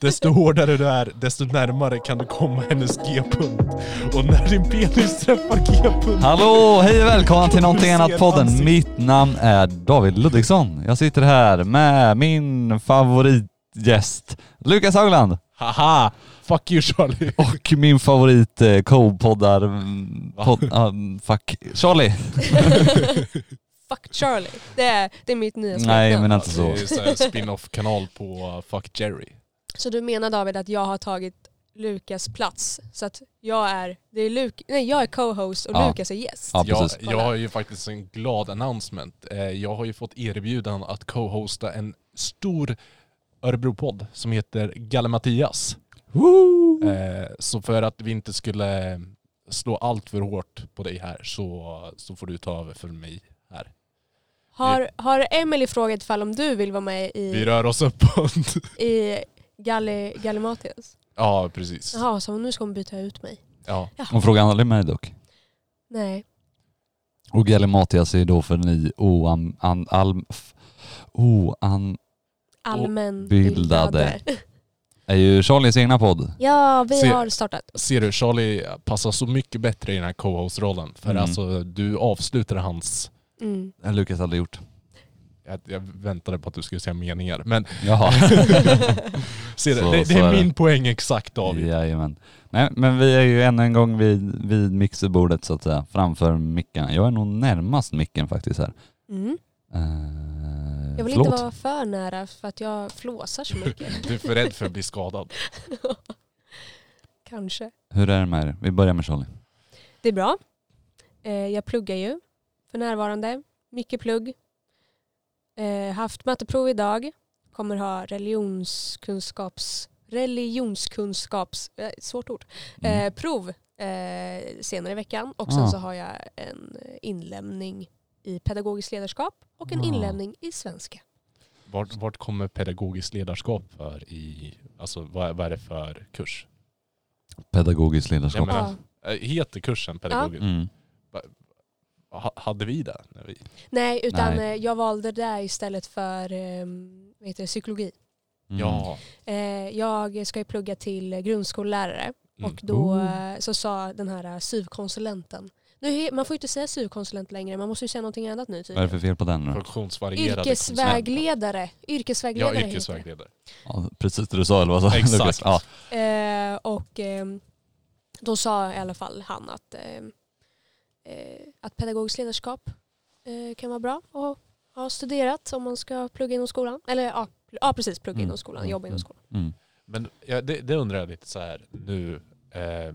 Desto hårdare du är, desto närmare kan du komma hennes G-punkt. Och när din penis träffar G-punkten... Hallå, hej och välkomna till Någonting Du ser Annat-podden. ansiktet. Mitt namn är David Ludvigsson. Jag sitter här med min favoritgäst Lukas Haugland Haha! Fuck you Charlie! och min favorit eh, co-poddar... mm, Pod, ah, fuck. Charlie. Fuck Charlie. Det är, det är mitt nya Nej smeknamn. men alltså- inte så. Det är så här spin-off-kanal på uh, Fuck Jerry. Så du menar David att jag har tagit Lukas plats? Så att jag är, det är Luk- nej, jag är co-host och Ja. Lukas är gäst? Ja jag, precis. jag har ju faktiskt en glad announcement. Eh, Jag har ju fått erbjudan att co-hosta en stor Örebro-podd som heter Galle Mattias. Eh, Så för att vi inte skulle slå allt för hårt på dig här så, så får du ta över för mig här. Har, har Emily frågat ifall om du vill vara med Vi i, rör oss uppåt. i Galli, Galli Matias? Ja, precis. Jaha, så nu ska hon byta ut mig? Ja. Hon frågar aldrig mig dock. Nej. Och Galimatias är då för ni oan... An, alm, f, oan... Allmänbildade. är ju Charlies egna podd. Ja, vi Se- har startat. Ser du, Charlie passar så mycket bättre i den här co-host-rollen. För Mm. alltså, du avslutar hans... Mm. Det har Eh, Lukas aldrig gjort. Jag, jag väntade på att du skulle säga meningar, men Jaha. Ser du? Så- det, det så är är det. min poäng exakt David. Jajamän. Nej, men vi är ju ännu en gång vid, vid mixerbordet så att säga, framför micken. Jag är nog närmast micken faktiskt här. Mm. Eh, Jag vill förlåt. inte vara för nära för att jag flåsar så mycket. Du är för rädd för att bli skadad. Kanske. Hur är det med er? Vi börjar med Charlie. Det är bra. Eh, jag pluggar ju för närvarande. Mycket plugg. Eh, haft matteprov idag. Kommer ha religionskunskaps... Religionskunskaps... eh, Svårt ord. Mm. Eh, prov eh, senare i veckan. Och sen Ah. så har jag en inlämning i pedagogiskt ledarskap och en Ah. inlämning i svenska. Vart, vart kommer pedagogiskt ledarskap för i, alltså vad, är- vad är det för kurs? Pedagogiskt Jag ledarskap. menar, Ja. eh, heter kursen pedagogiskt? Mm. Ha, hade vi det? När vi... Nej, utan Nej. Eh, jag valde det där istället för eh, vad heter det, psykologi. Mm. Ja. Eh, jag ska ju plugga till eh, grundskollärare Mm. och då Oh. eh, så sa den här eh, SYV-konsulenten, nu, he- man får ju inte säga SYV-konsulent längre, man måste ju säga någonting annat nu Vad är det tydligen. för fel på den då? Funktionsvarierade konsulenter. Yrkesvägledare. Yrkesvägledare Ja, heter yrkesvägledare. Ja, precis det du sa eller vad sa du, Exakt. Lukas? Ja. det. Eh, och ehm, då sa i alla fall han att, ehm, eh, att pedagogiskt ledarskap eh, kan vara bra att ha studerat om man ska plugga inom skolan. Eller ja, pl- ja precis, plugga Mm. inom skolan, Mm, jobba mm. inom skolan. Mm. Men ja, det, det undrar jag lite så här nu. Eh,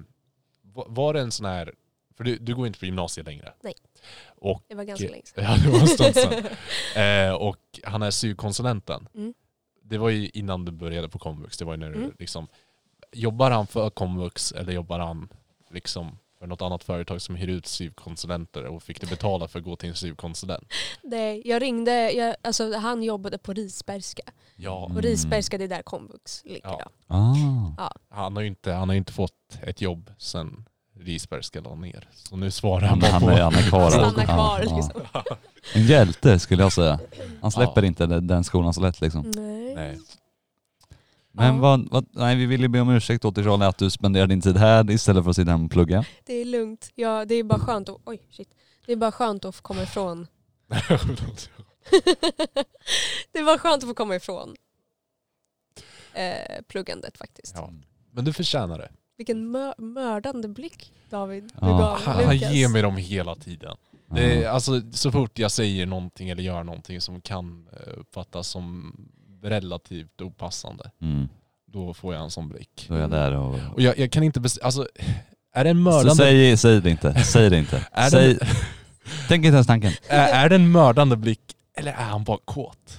va- var det en sån här, för du, du går inte på gymnasiet längre. Det var ganska Okej. länge sedan. Ja, det var en stund sedan. Eh, och han är syokonsulenten. Mm. Det var ju innan du började på komvux. Det var ju när du Mm. liksom, jobbar han för komvux eller jobbar han liksom för något annat företag som hyr ut syokonsulenter och fick du betala för att gå till en syokonsulent? Nej, jag ringde, jag, alltså, han jobbade på Risbergska. Ja, Och Risbergska det är där komvux ligger. Mm. Ja. Ja. Ah. han har ju inte, han har ju inte fått ett jobb sen Risbergska la ner. Så nu svarar han Han, bara han, är, på... han är kvar. alltså. Stanna kvar Ja, ja. liksom. En hjälte skulle jag säga. Han släpper inte den den skolan så lätt liksom. Nej. Nej. Men Mm. Ja. vad, vad, nej vi vill ju be om ursäkt då till Charlie att du spenderar din tid här istället för att sitta hemma och plugga. Det är lugnt. Ja, det är bara skönt att, oj, shit. Det är bara skönt att få komma ifrån. det är bara skönt att få komma ifrån eh, pluggandet faktiskt. Ja. Mm. Men du förtjänar det. Vilken mö- mördande blick David du Ja. gav Han Lukas. ger mig dem hela tiden. Det är, Ja. alltså, så fort jag säger någonting eller gör någonting som kan eh, uppfattas som relativt opassande, Mm. då får jag en sån blick. Då är jag där och... Och jag, jag kan inte bestämma, alltså är det en Så mördande, säg, säg det inte, säg det inte. Är säg, Tänk inte ens tanken. är, är det en mördande blick eller är han bara kåt?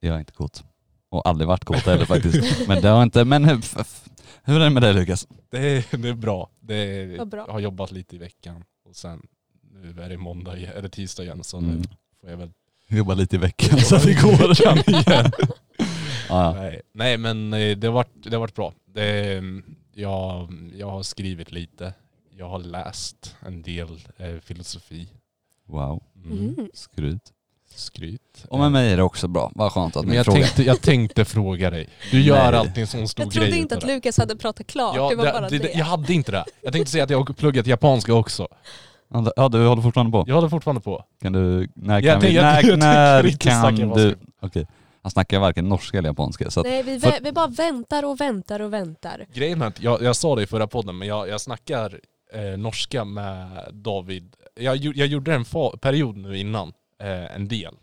Jag är inte kåt. Och aldrig varit kåt heller faktiskt. Men det har inte, men hur, f- hur är det med dig Lukas? Det är, det är bra. Det är, Vad bra. Jag har jobbat lite i veckan och sen nu är det måndag, igen- eller tisdag igen så Mm. nu får jag väl... Jobbar lite i veckan så att det går redan igen. Ja, ja. Nej, nej men eh, det har varit, det har varit bra. Det, jag, jag har skrivit lite. Jag har läst en del eh, filosofi. wow. Mm. Skryt. Skryt. Eh, Och med mig är det också bra. Vad skönt att Men ni jag frågar. tänkte, jag tänkte fråga dig. Du gör Nej. alltid en sån stor Jag grej trodde inte utav att det. Lukas hade pratat klart, det var bara det. Jag hade inte det. Jag tänkte säga att jag har pluggat japanska också. Ja du håller fortfarande på? Jag håller fortfarande på. Kan du... När Jag kan vi... tänker- jag När, tänker när inte snacka kan japanska. du... Okej. Han snackar varken norska eller japanska så att... Nej, vi, för- vä- vi bara väntar och väntar och väntar. Grejen är att, jag, jag sa det i förra podden, men jag, jag snackar eh, norska med David. Jag, gjo- jag gjorde en fa- period nu innan, eh, en del.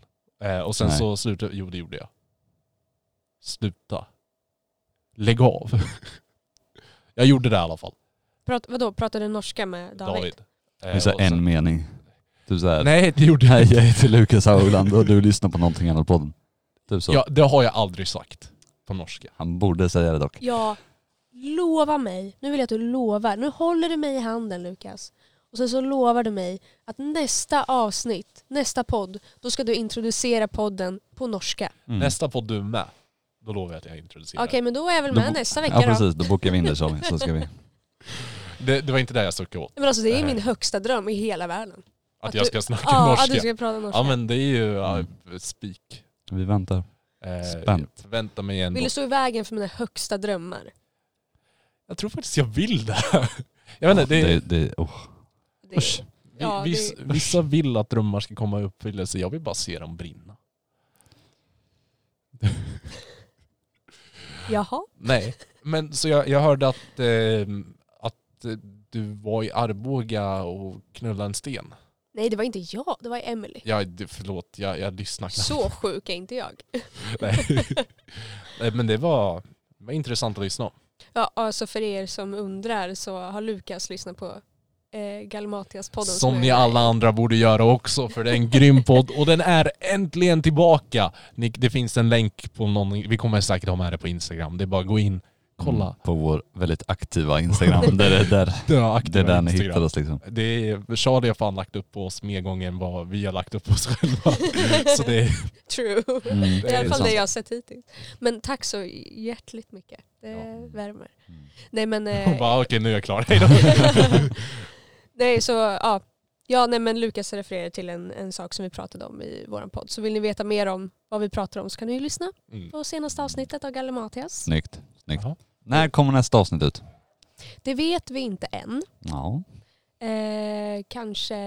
Eh, och sen Nej. så slutade, jo det gjorde jag. Sluta. Lägg av. jag gjorde det i alla fall, Prat, vadå, pratar du norska med David? David. Eh, Vi sa och sen- en mening. Du såhär... Nej det gjorde jag Hej inte. jag heter Lukas Hauland och du lyssnar på någonting annat podden. Typ så. Ja, det har jag aldrig sagt på norska. Han borde säga det dock. Ja, lova mig. Nu vill jag att du lovar. Nu håller du mig i handen Lukas. Och sen så lovar du mig att nästa avsnitt, nästa podd, då ska du introducera podden på norska. Mm. Nästa podd du är med, då lovar jag att jag introducerar. Okej, men då är jag väl Då med bo- nästa vecka Ja då. precis, då bokar vi in dig Charlie så ska vi... Det, det var inte det jag suckade åt, Men alltså, det är min högsta dröm i hela världen. att, Att jag du- ska snacka Ja, att norska. du ska prata norska. Ja men det är ju ja, spik. Vi väntar. Eh, Mm. Spänt. Jag förväntar mig ändå. Vill du stå i vägen för mina högsta drömmar? Jag tror faktiskt jag vill det. Jag vet inte, det, det, det, oh. Det är... Usch. vi- ja, det- viss, vissa vill att drömmar ska komma i uppfyllelse. Jag vill bara se dem brinna. Jaha. Nej, men så jag, jag hörde att, eh, att eh, du var i Arboga och knullade en sten. Nej, det var inte jag. Det var Emily. Jag, det- förlåt, jag, jag lyssnar knappt. Så sjuk är inte jag. Nej. Nej, men det var, det var intressant att lyssna om. Ja, alltså för er som undrar så har Lukas lyssnat på eh, Galmatias-podden. Som jag ni är med alla i. andra borde göra också, för det är en grym podd och den är äntligen tillbaka. Ni, det finns en länk på någon, vi kommer säkert ha med det på Instagram. Det är bara att gå in, kolla. Mm, På vår väldigt aktiva Instagram. där, det- där, Det är, det är där ni hittar oss liksom. Det är, Charlie har fan lagt upp på oss mer gånger än vad vi har lagt upp på oss själva. Så det är, True. Mm, det I är alla fall sant. det jag har sett hittills. Men tack så hjärtligt mycket. Det Ja. värmer. Mm. Nej men... hon Eh, bara okej nu är jag klar, hejdå. nej så, ja. Ja nej men Lukas refererar till en, en sak som vi pratade om i vår podd. Så vill ni veta mer om vad vi pratar om så kan ni ju lyssna Mm. på senaste avsnittet av Gallimatias. Snyggt. Snyggt. Jaha. När kommer nästa avsnitt ut? Det vet vi inte än. Ja. Eh, kanske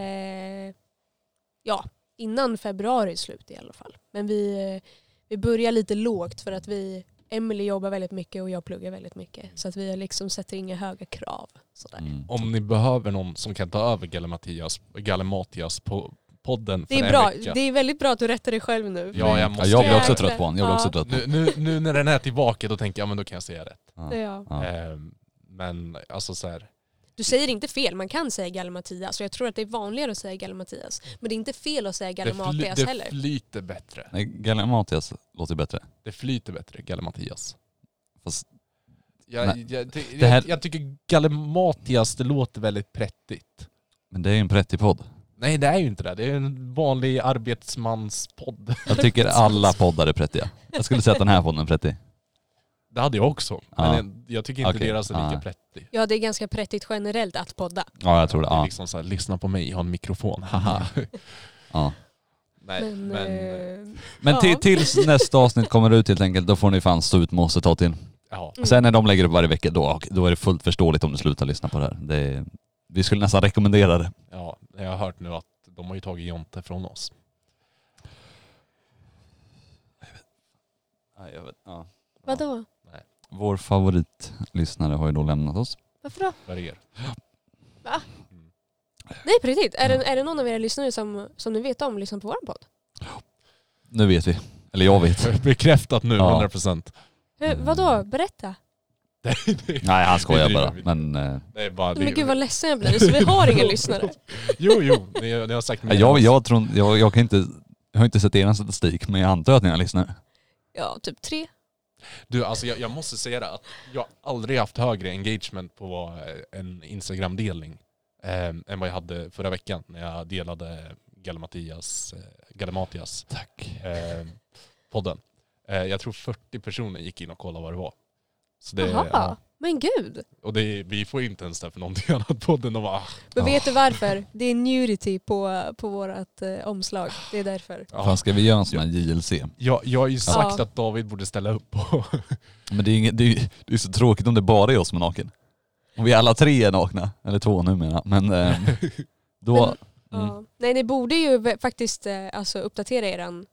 ja, innan februari är slut i alla fall. Men vi, eh, vi börjar lite lågt för att vi, Emily jobbar väldigt mycket och jag pluggar väldigt mycket. Så att vi liksom sätter inga höga krav. Sådär. Mm. Om ni behöver någon som kan ta över Gallimatias, Gallimatias på podden för Det är, en bra, vecka. det är väldigt bra att du rättar dig själv nu. Ja, jag Ja, måste jag blir också Jävlar. trött på honom. Jag blir också Ja. trött på nu, honom. nu, nu när den är tillbaka då tänker jag, ja men då kan jag säga rätt. Ja. Ja. Ja. Ehm, men alltså så här, Du säger inte fel, man kan säga Gallimatias och jag tror att det är vanligare att säga Gallimatias. Men det är inte fel att säga det, fly, Gallimatias det heller. flyter bättre. Nej, Gallimatias låter bättre. Det flyter bättre, Gallimatias. Fast- Jag, Nej. jag, ty- Det här- jag, jag tycker Gallimatias, det låter väldigt prättigt. Men det är ju en prättig podd. Nej det är ju inte det, det är en vanlig arbetsmanspodd. Jag tycker alla poddar är prättiga. Jag skulle säga att den här podden är prättig. Det hade jag också, Ja. men jag tycker inte Okej. deras är lika Ja. prättig. Ja, det är ganska prättigt generellt att podda. Ja, jag tror det. Det är Ja. liksom så här, lyssna på mig, jag har en mikrofon, haha. Ja. Nej, men, eh, Men till, Ja. tills nästa avsnitt kommer ut helt enkelt, då får ni fan stå ut med oss ett tag till. ja. Mm. Sen när de lägger upp varje vecka, då, då är det fullt förståeligt om du slutar lyssna på det här. Det är, vi skulle nästan rekommendera det. ja, jag har hört nu att de har ju tagit Jonte från oss. vadå? Vår favoritlyssnare har ju då lämnat oss. Varför då? För er. Nej på riktigt, är, det, är det någon av era lyssnare som, som ni vet om lyssnar på vår podd? Nu vet vi. Eller jag vet. Bekräftat nu, Ja. 100%. Hur, Mm. vadå, berätta. Det är- Nej, han skojar Vi bara. driver. Men eh, det är bara... Men gud vad ledsen jag blir, så vi har ingen lyssnare. Jo, jo, ni, ni har sagt mer än jag, oss. jag, tror, jag, jag, kan inte, jag har inte sett er statistik, men jag antar att ni har lyssnare. Ja, typ tre. Du, alltså jag, jag måste säga det att jag har aldrig haft högre engagement på eh, en Instagram-delning eh, än vad jag hade förra veckan när jag delade Gallimatias, eh, Gallimatias Tack. eh, podden. Eh, jag tror 40 personer gick in och kollade vad det var. Så det, Jaha. ja, Men gud! Och det, vi får ju inte ens det här för någonting annat på den. De bara, ah, Men Ja. vet du varför? Det är nudity på, på vårt eh, omslag. Det är därför. ja. Fan ska vi göra en sån här JLC? jag, "Ah." jag har ju sagt Ja. att David borde ställa upp på... Men det är, inget, det, är, ju- det är så tråkigt om det bara är jag som är naken. Om vi alla tre är nakna, eller två nu menar jag. Men ehm, då... Mm. Ja. Nej, ni borde ju ve- faktiskt eh, alltså, uppdatera eran,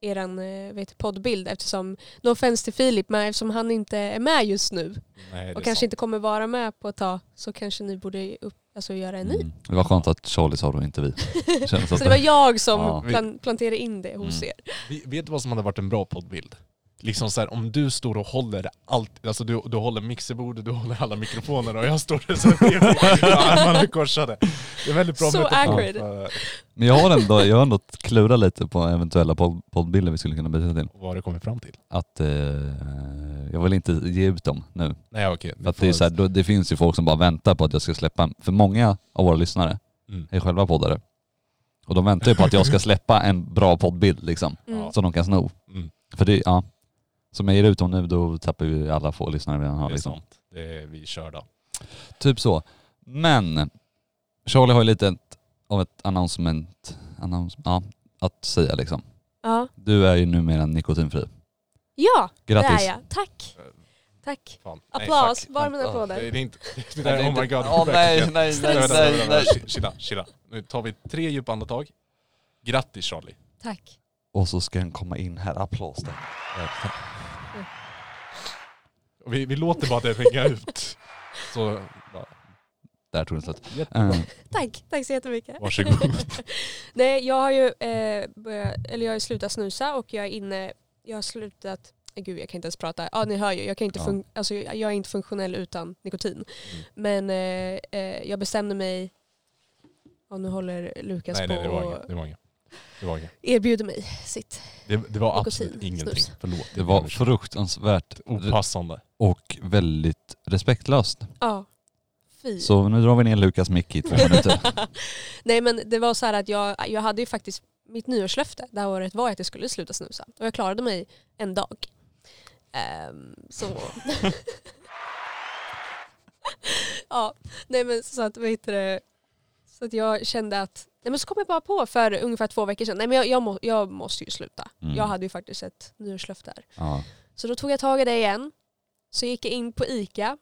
eran eh, vet, du, poddbild eftersom, no offense till Filip, men eftersom han inte är med just nu Nej, det är och kanske sant. inte kommer vara med på ett tag så kanske ni borde upp, alltså, göra en ny. Mm. Det var skönt att Charlie sa det och inte vi. Det kändes Så att det var jag som Ja. plan, planterade in det hos Mm. er. Vi- Vet du vad som hade varit en bra poddbild? Liksom så här, om du står och håller allt, alltså du, du håller mixerbordet, du håller alla mikrofoner och jag står där som en TV. Ja, Armarna är korsade. Det är väldigt bra So metafor awkward. för Men jag har ändå, jag har ändå klurat lite på eventuella podd, poddbilder vi skulle kunna byta till. Vad har du kommit fram till? Att eh, jag vill inte ge ut dem nu. Nej okej. För att det, är så här, då, det finns ju folk som bara väntar på att jag ska släppa. För många av våra lyssnare Mm. är själva poddare. Och de väntar ju på att jag ska släppa en bra poddbild liksom. Mm. Ja. Som de kan sno. Mm, För det, ja. Som jag ger ut dem nu då tappar vi alla få lyssnare vi redan det har är liksom. sant. Det är, vi kör då. Typ så. Men Charlie har ju lite ett, av ett announcement, annons, ja, att säga liksom. Ja. Du är ju numera nikotinfri. ja, Grattis. där ja. Tack. Tack. Fan. Applås. Nej, Varma tack. applåder. Nej, Det är inte... Det där, oh my god. Åh, nej, nej, nej, Vänta, vänta, nej, vänta, nej. vänta. Chilla, chilla. Nu tar vi tre djupa andetag. Grattis Charlie. Tack. Och så ska han komma in här. Applås där. Och Vi, vi låter bara det ringa ut. Så, ja, Där tog det slut. jättebra. Eh, Tack. Tack så jättemycket. Varsågod. Nej, jag har ju eh, börjat, eller jag har ju slutat snusa och jag är inne, jag har slutat, eh, gud jag kan inte ens prata, ja ni hör ju, jag, kan inte Ja. fun- alltså, jag jag är inte funktionell utan nikotin. Mm. Men eh, eh, jag bestämde mig, ja nu håller Lukas Nej, på nej, det var inget. och Det var inget. Det var, inget. erbjuder mig sitt. Det, det var Nikotin, absolut ingenting. snus. Förlåt. Det var fruktansvärt opassande. och väldigt respektlöst. Ja, fy. Så nu drar vi ner Lukas mick i två minuter. nej men det var så här att jag, jag hade ju faktiskt, mitt nyårslöfte det här året var att jag skulle sluta snusa och jag klarade mig en dag. Ehm, så ja, nej men så att, vad heter det? Så att jag kände att, nej men så kom jag bara på för ungefär två veckor sedan, nej men jag, jag, må, jag måste ju sluta. Mm. Jag hade ju faktiskt ett nyårslöfte där. ja. Så då tog jag tag i det igen, så gick jag in på ICA,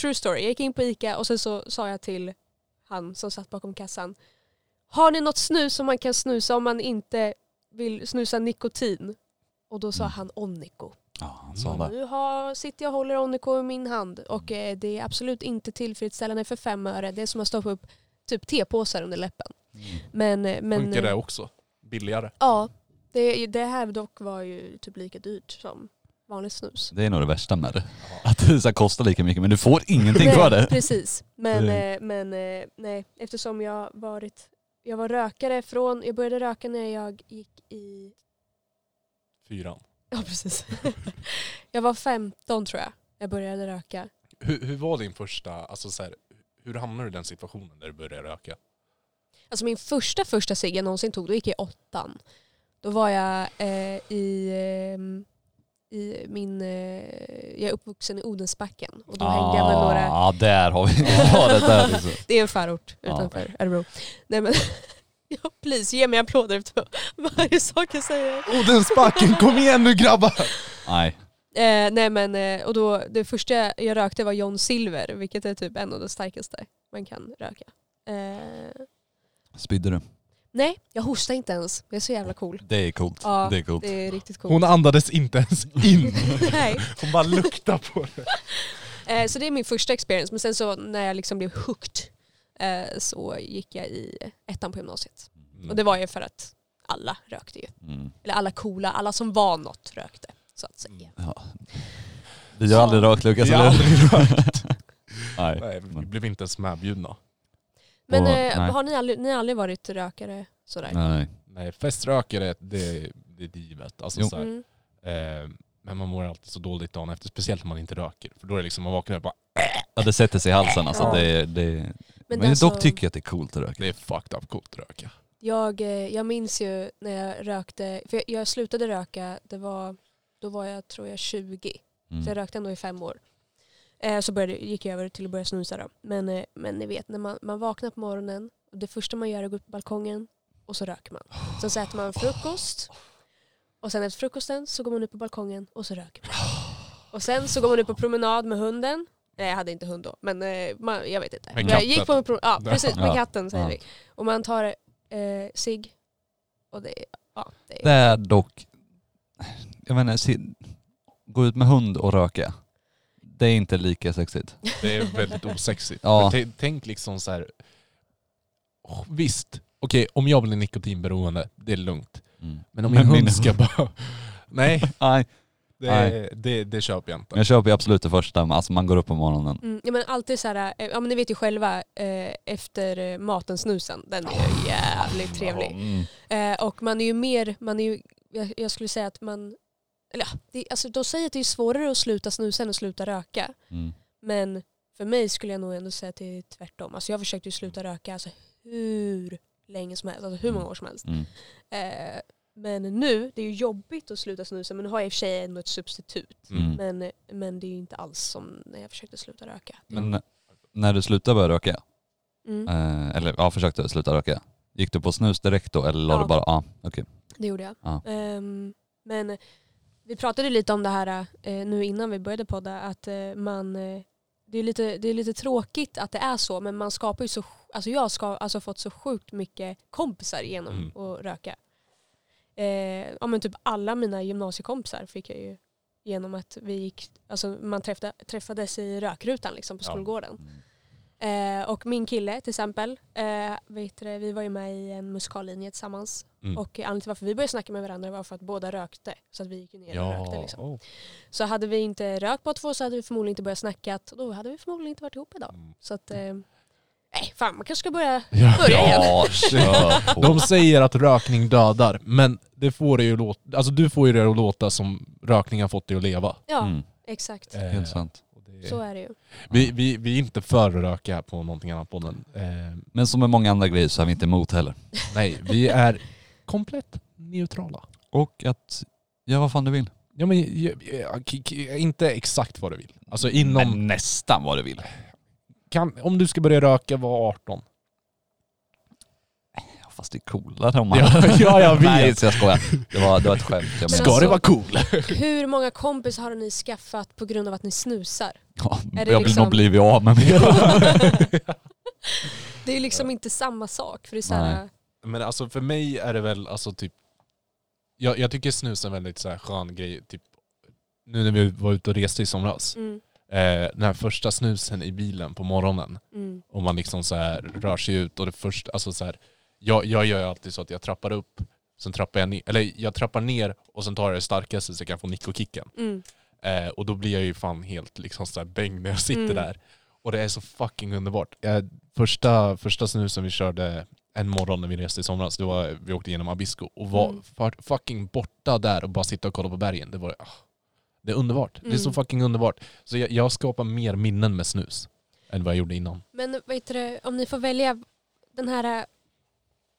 true story, jag gick in på ICA och sen så sa jag till han som satt bakom kassan, har ni något snus som man kan snusa om man inte vill snusa nikotin? Och då sa Mm. han Onico. ja, han sa det. Nu har, sitter jag och håller Onico i min hand och eh, det är absolut inte tillfredsställande för fem öre. Det är som att stoppa upp typ tepåsar under läppen. Men, eh, men, Funkar eh, det också? Billigare? Ja, det, det här dock var ju typ lika dyrt som vanligt snus. Det är nog det värsta med det. Att det så här kostar lika mycket men du får ingenting Nej, för det. Precis, men, Mm. eh, men eh, nej, eftersom jag varit jag var rökare från, jag började röka när jag gick i, Fyran. ja precis. jag var 15 tror jag, jag började röka. Hur, hur var din första, alltså så här, hur hamnade du i den situationen där du började röka? Alltså min första första cigg jag någonsin tog, då gick jag i åttan. Då var jag eh, i, ehm, i min, eh, jag är uppvuxen i Odensbacken och då hängde jag Ah. med några Ja, där har vi svaret. Där liksom. Det är en förort Ja. utanför Örebro. Nej men, ja, please ge mig applåder efter varje sak jag säger. Odensbacken, kom igen nu grabbar! Nej. Eh, nej men, eh, och då, det första jag rökte var John Silver, vilket är typ en av de starkaste man kan röka. Eh, Spydde du? nej, jag hostar inte ens. Jag är så jävla cool. Det är coolt. Ja, det är coolt. Det är riktigt coolt. Hon andades inte ens in. nej. Hon bara luktade på det. Eh, så det är min första experience, men sen så när jag liksom blev hooked eh, så gick jag i ettan på gymnasiet. Och det var ju för att alla rökte ju. Mm. Eller alla coola, alla som var något rökte. Så att säga. Vi har aldrig rökt Lukas, Vi har eller hur? aldrig rökt. Nej. Nej, vi blev inte ens medbjudna. Men Och- eh, nej. har ni aldrig, ni har aldrig varit rökare sådär? Nej. Nej, feströkare, det, det är givet. Alltså, Jo. så här, Mm. eh, men man mår alltid så dåligt dagen efter, speciellt om man inte röker. För då är det liksom, man vaknar och bara, Ja, det sätter sig i halsen alltså. Ja. Det, är- det, är- men alltså, dock tycker jag att det är coolt att röka. det är fucked up coolt att röka. jag, eh, jag minns ju när jag rökte, för jag, jag slutade röka, det var, då var jag tror jag 20. Så jag Mm. rökte ändå i fem år. Eh, Eh, så började, gick jag över till att börja snusa då. Men, eh, men ni vet, när man, man vaknar på morgonen och det första man gör är att gå upp på balkongen och så röker man. Sen så äter man frukost och sen efter frukosten så går man ut på balkongen och så röker man. Och sen så går man ut på promenad med hunden. Nej jag hade inte hund då, men eh, man, jag vet inte. Med Men Jag katten. gick på en pro- ja, precis, med Ja. katten säger Ja. vi. Och man tar eh, cigg och det, ja, det Det är... är dock, jag menar, se- gå ut med hund och röka. Det är inte lika sexigt. Det är väldigt osexigt. Ja. Men t- Tänk liksom så här. "Åh, Visst, okej om jag blir nikotinberoende, det är lugnt. Men om min min hund ska bara... Nej, Nej, det, Nej. det, det köper jag inte. men jag köper ju absolut det första, men alltså man går upp på morgonen. Mm, ja, men alltid så här, eh, ja men ni vet ju själva, eh, efter eh, maten snusen, den är ju jävligt trevlig. Mm. Eh, och man är ju mer, man är ju, jag, jag skulle säga att man, eller ja, det, alltså, de säger att det är svårare att sluta snusa än att sluta röka. Mm. Men för mig skulle jag nog ändå säga att det är tvärtom. Alltså jag försökte ju sluta röka alltså, hur länge som helst, alltså hur många år som helst. Mm. Eh, men nu, det är ju jobbigt att sluta snusa men nu har jag i och för sig ändå ett substitut. Mm. Men, men det är ju inte alls som när jag försökte sluta röka. Men n- när du slutade börja röka, Mm. Eh, eller ja, försökte sluta röka. Gick du på snus direkt då eller la Ja. du bara, ja okej. Det gjorde jag. Ja. Ehm, men vi pratade lite om det här eh, nu innan vi började podda, att eh, man eh, det är, lite, det är lite tråkigt att det är så, men man skapar ju så, alltså jag har alltså fått så sjukt mycket kompisar genom Mm. att röka. Eh, ja, men typ alla mina gymnasiekompisar fick jag ju genom att vi gick, alltså man träffade, träffades i rökrutan liksom på Ja. skolgården. Eh, och min kille till exempel, eh, vet du, det, vi var ju med i en musikallinje tillsammans. Mm. Och anledningen till varför vi började snacka med varandra var för att båda rökte. Så att vi gick ju ner och rökte. Liksom. oh. Så hade vi inte rökt båda två så hade vi förmodligen inte börjat snacka. Och då hade vi förmodligen inte varit ihop idag. Mm. Så att, eh, nej fan man kanske ska börja. Ja. Börja igen. Ja, kör på. De säger att rökning dödar, men det får det ju låta, alltså du får ju det att låta som rökning har fått dig att leva. Ja, Mm, exakt. Eh, helt sant. och det- Så är det ju. vi, vi, vi är inte för att röka på någonting annat på den. Eh, Men som med många andra grejer så är vi inte emot heller. nej, vi är komplett neutrala. Och att, ja vad fan du vill. Ja, men, jag- jag- k- k- inte exakt vad du vill. Alltså inom... Men nästan vad du vill. Kan, om du ska börja röka, var 18. Ja, fast det är coolare om man... Ja, ja, jag vet. Nej så jag skojar. Det var, det var ett skämt. Jag Ska menar- alltså- det vara cool? Hur många kompisar har ni skaffat på grund av att ni snusar? ja, är jag det vill liksom- nog blivit av med mig. Det är ju liksom inte samma sak. För det är så Nej. här, Men alltså för mig är det väl alltså typ... Jag, jag tycker snus är en väldigt så här skön grej. Typ, nu när vi var ute och reste i somras. mm, Eh, den här första snusen i bilen på morgonen. mm, Och man liksom så här rör sig ut och det första... Alltså så här, jag, jag gör ju alltid så att jag trappar upp. Sen trappar jag ner, eller jag trappar ner och sen tar jag det starkaste så jag kan få nickokicken. mm. Eh, och då blir jag ju fan helt liksom så här bäng när jag sitter Mm. där. Och det är så fucking underbart. Jag, första, första snusen vi körde en morgon när vi reste i somras, det var, vi åkte genom Abisko och var Mm. fa- fucking borta där och bara sitta och kolla på bergen. Det var ah, det är underbart. Det är så Mm. fucking underbart. Så jag, jag skapar mer minnen med snus än vad jag gjorde innan. Men vad heter det, om ni får välja den här eh,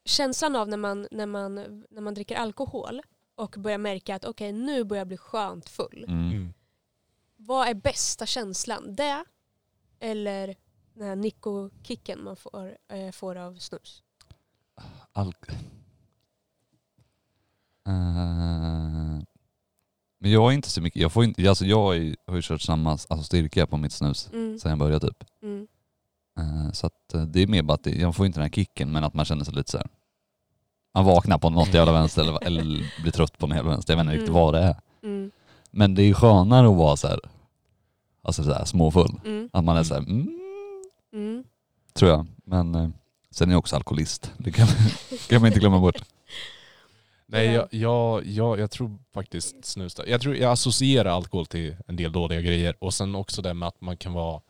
känslan av när man, när man, när man dricker alkohol och börjar märka att okej nu börjar jag bli skönt full. Mm. Vad är bästa känslan? Det eller den här nikokicken man får, eh, får av snus? Alk... Eh, men jag är inte så mycket, jag, får inte, alltså jag har ju- har ju kört samma alltså styrka på mitt snus Mm, sen jag började typ. mm, Eh, så att eh, det är mer bara att det, jag får inte den här kicken men att man känner sig lite så här. Man vaknar på något jävla vänster eller, eller blir trött på något jävla vänster, jag vet inte riktigt Mm. vad det är. mm, Men det är skönare att vara så här, alltså så här småfull. mm, Att man är så här, mm, mm. tror jag. Men eh, sen är jag också alkoholist, det kan, kan man inte glömma bort. Nej, Eller- jag, jag, jag, jag tror faktiskt snus. där. Jag, tror, jag associerar alkohol till en del dåliga grejer och sen också det med att man kan vara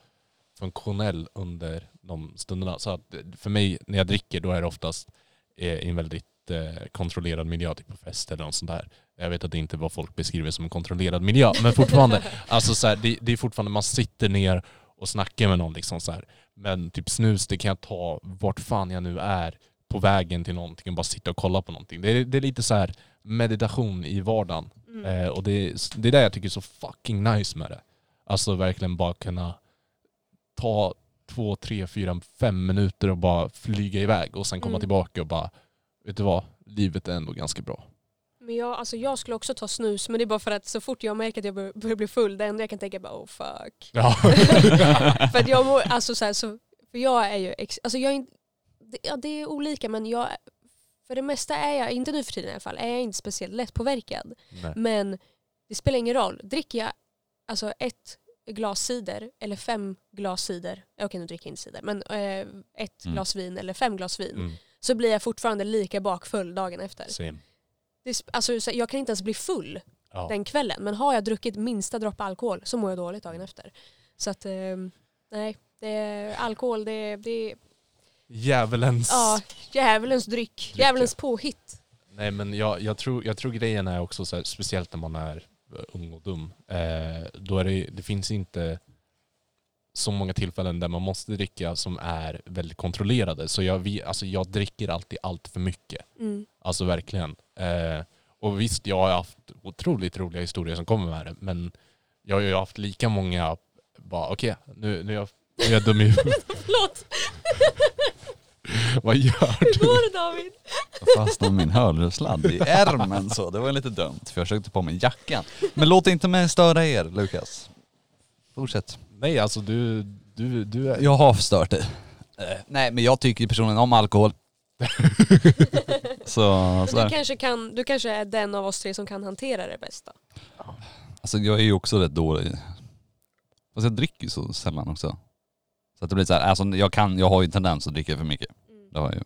funktionell under de stunderna. Så att eh, för mig, när jag dricker, då är det oftast eh, i en väldigt eh, kontrollerad miljö, typ på fest eller något sånt där. Jag vet att det inte är vad folk beskriver som en kontrollerad miljö, men fortfarande, alltså så här, det, det är fortfarande, man sitter ner och snackar med någon liksom så här. Men typ snus, det kan jag ta vart fan jag nu är på vägen till någonting och bara sitta och kolla på någonting. Det är, det är lite så här meditation i vardagen. Mm. Eh, och det är, det är det jag tycker är så fucking nice med det. Alltså verkligen bara kunna ta två, tre, fyra, fem minuter och bara flyga iväg och sen komma Mm. tillbaka och bara, vet du vad, livet är ändå ganska bra. Men jag, alltså jag skulle också ta snus men det är bara för att så fort jag märker att jag bör- börjar bli full det enda jag kan tänka är bara oh fuck. Ja. för att jag mår, alltså så här, så, för jag är ju, ex, alltså jag är inte, det, ja, det är olika men jag, för det mesta är jag, inte nu för tiden i alla fall, är jag inte speciellt lättpåverkad. Nej. Men det spelar ingen roll, dricker jag alltså ett glas cider eller fem glas cider, okej nu dricker jag inte cider, men eh, ett Mm. glas vin eller fem glas vin Mm. så blir jag fortfarande lika bakfull dagen efter. Same. Det, är sp- alltså, så här, jag kan inte ens bli full Ja. den kvällen. Men har jag druckit minsta droppe alkohol så mår jag dåligt Mm. dagen efter. Så att eh, nej, det är, alkohol det är, det är Djävulens... ja, djävulens dryck. Dryck, Djävulens påhitt. Nej men jag, jag, tror, jag tror grejen är också så här, speciellt när man är eh, ung och dum, eh, då är det, det finns inte så många tillfällen där man måste dricka som är väldigt kontrollerade. Så jag, vi, alltså jag dricker alltid allt för mycket. Mm. Alltså verkligen. Eh, och visst, jag har haft otroligt roliga historier som kommer med det, men jag har ju haft lika många, bara okej, nu, nu, är jag, nu är jag dum i huvudet. Förlåt, Vad gör hur går det David? Jag fastnade med min hörlurssladd i ärmen så. Det var lite dumt för jag sökte på mig jackan. Men låt inte mig störa er Lukas. Fortsätt. Nej alltså du, du, du är... Jag har förstört dig. Eh, Nej men jag tycker personligen om alkohol. så, så Men du, här. kanske kan, du kanske är den av oss tre som kan hantera det bästa. Alltså jag är ju också rätt dålig. Fast jag dricker ju så sällan också. Så att det blir så här, alltså jag kan, jag har ju en tendens att dricka för mycket. Det har jag ju.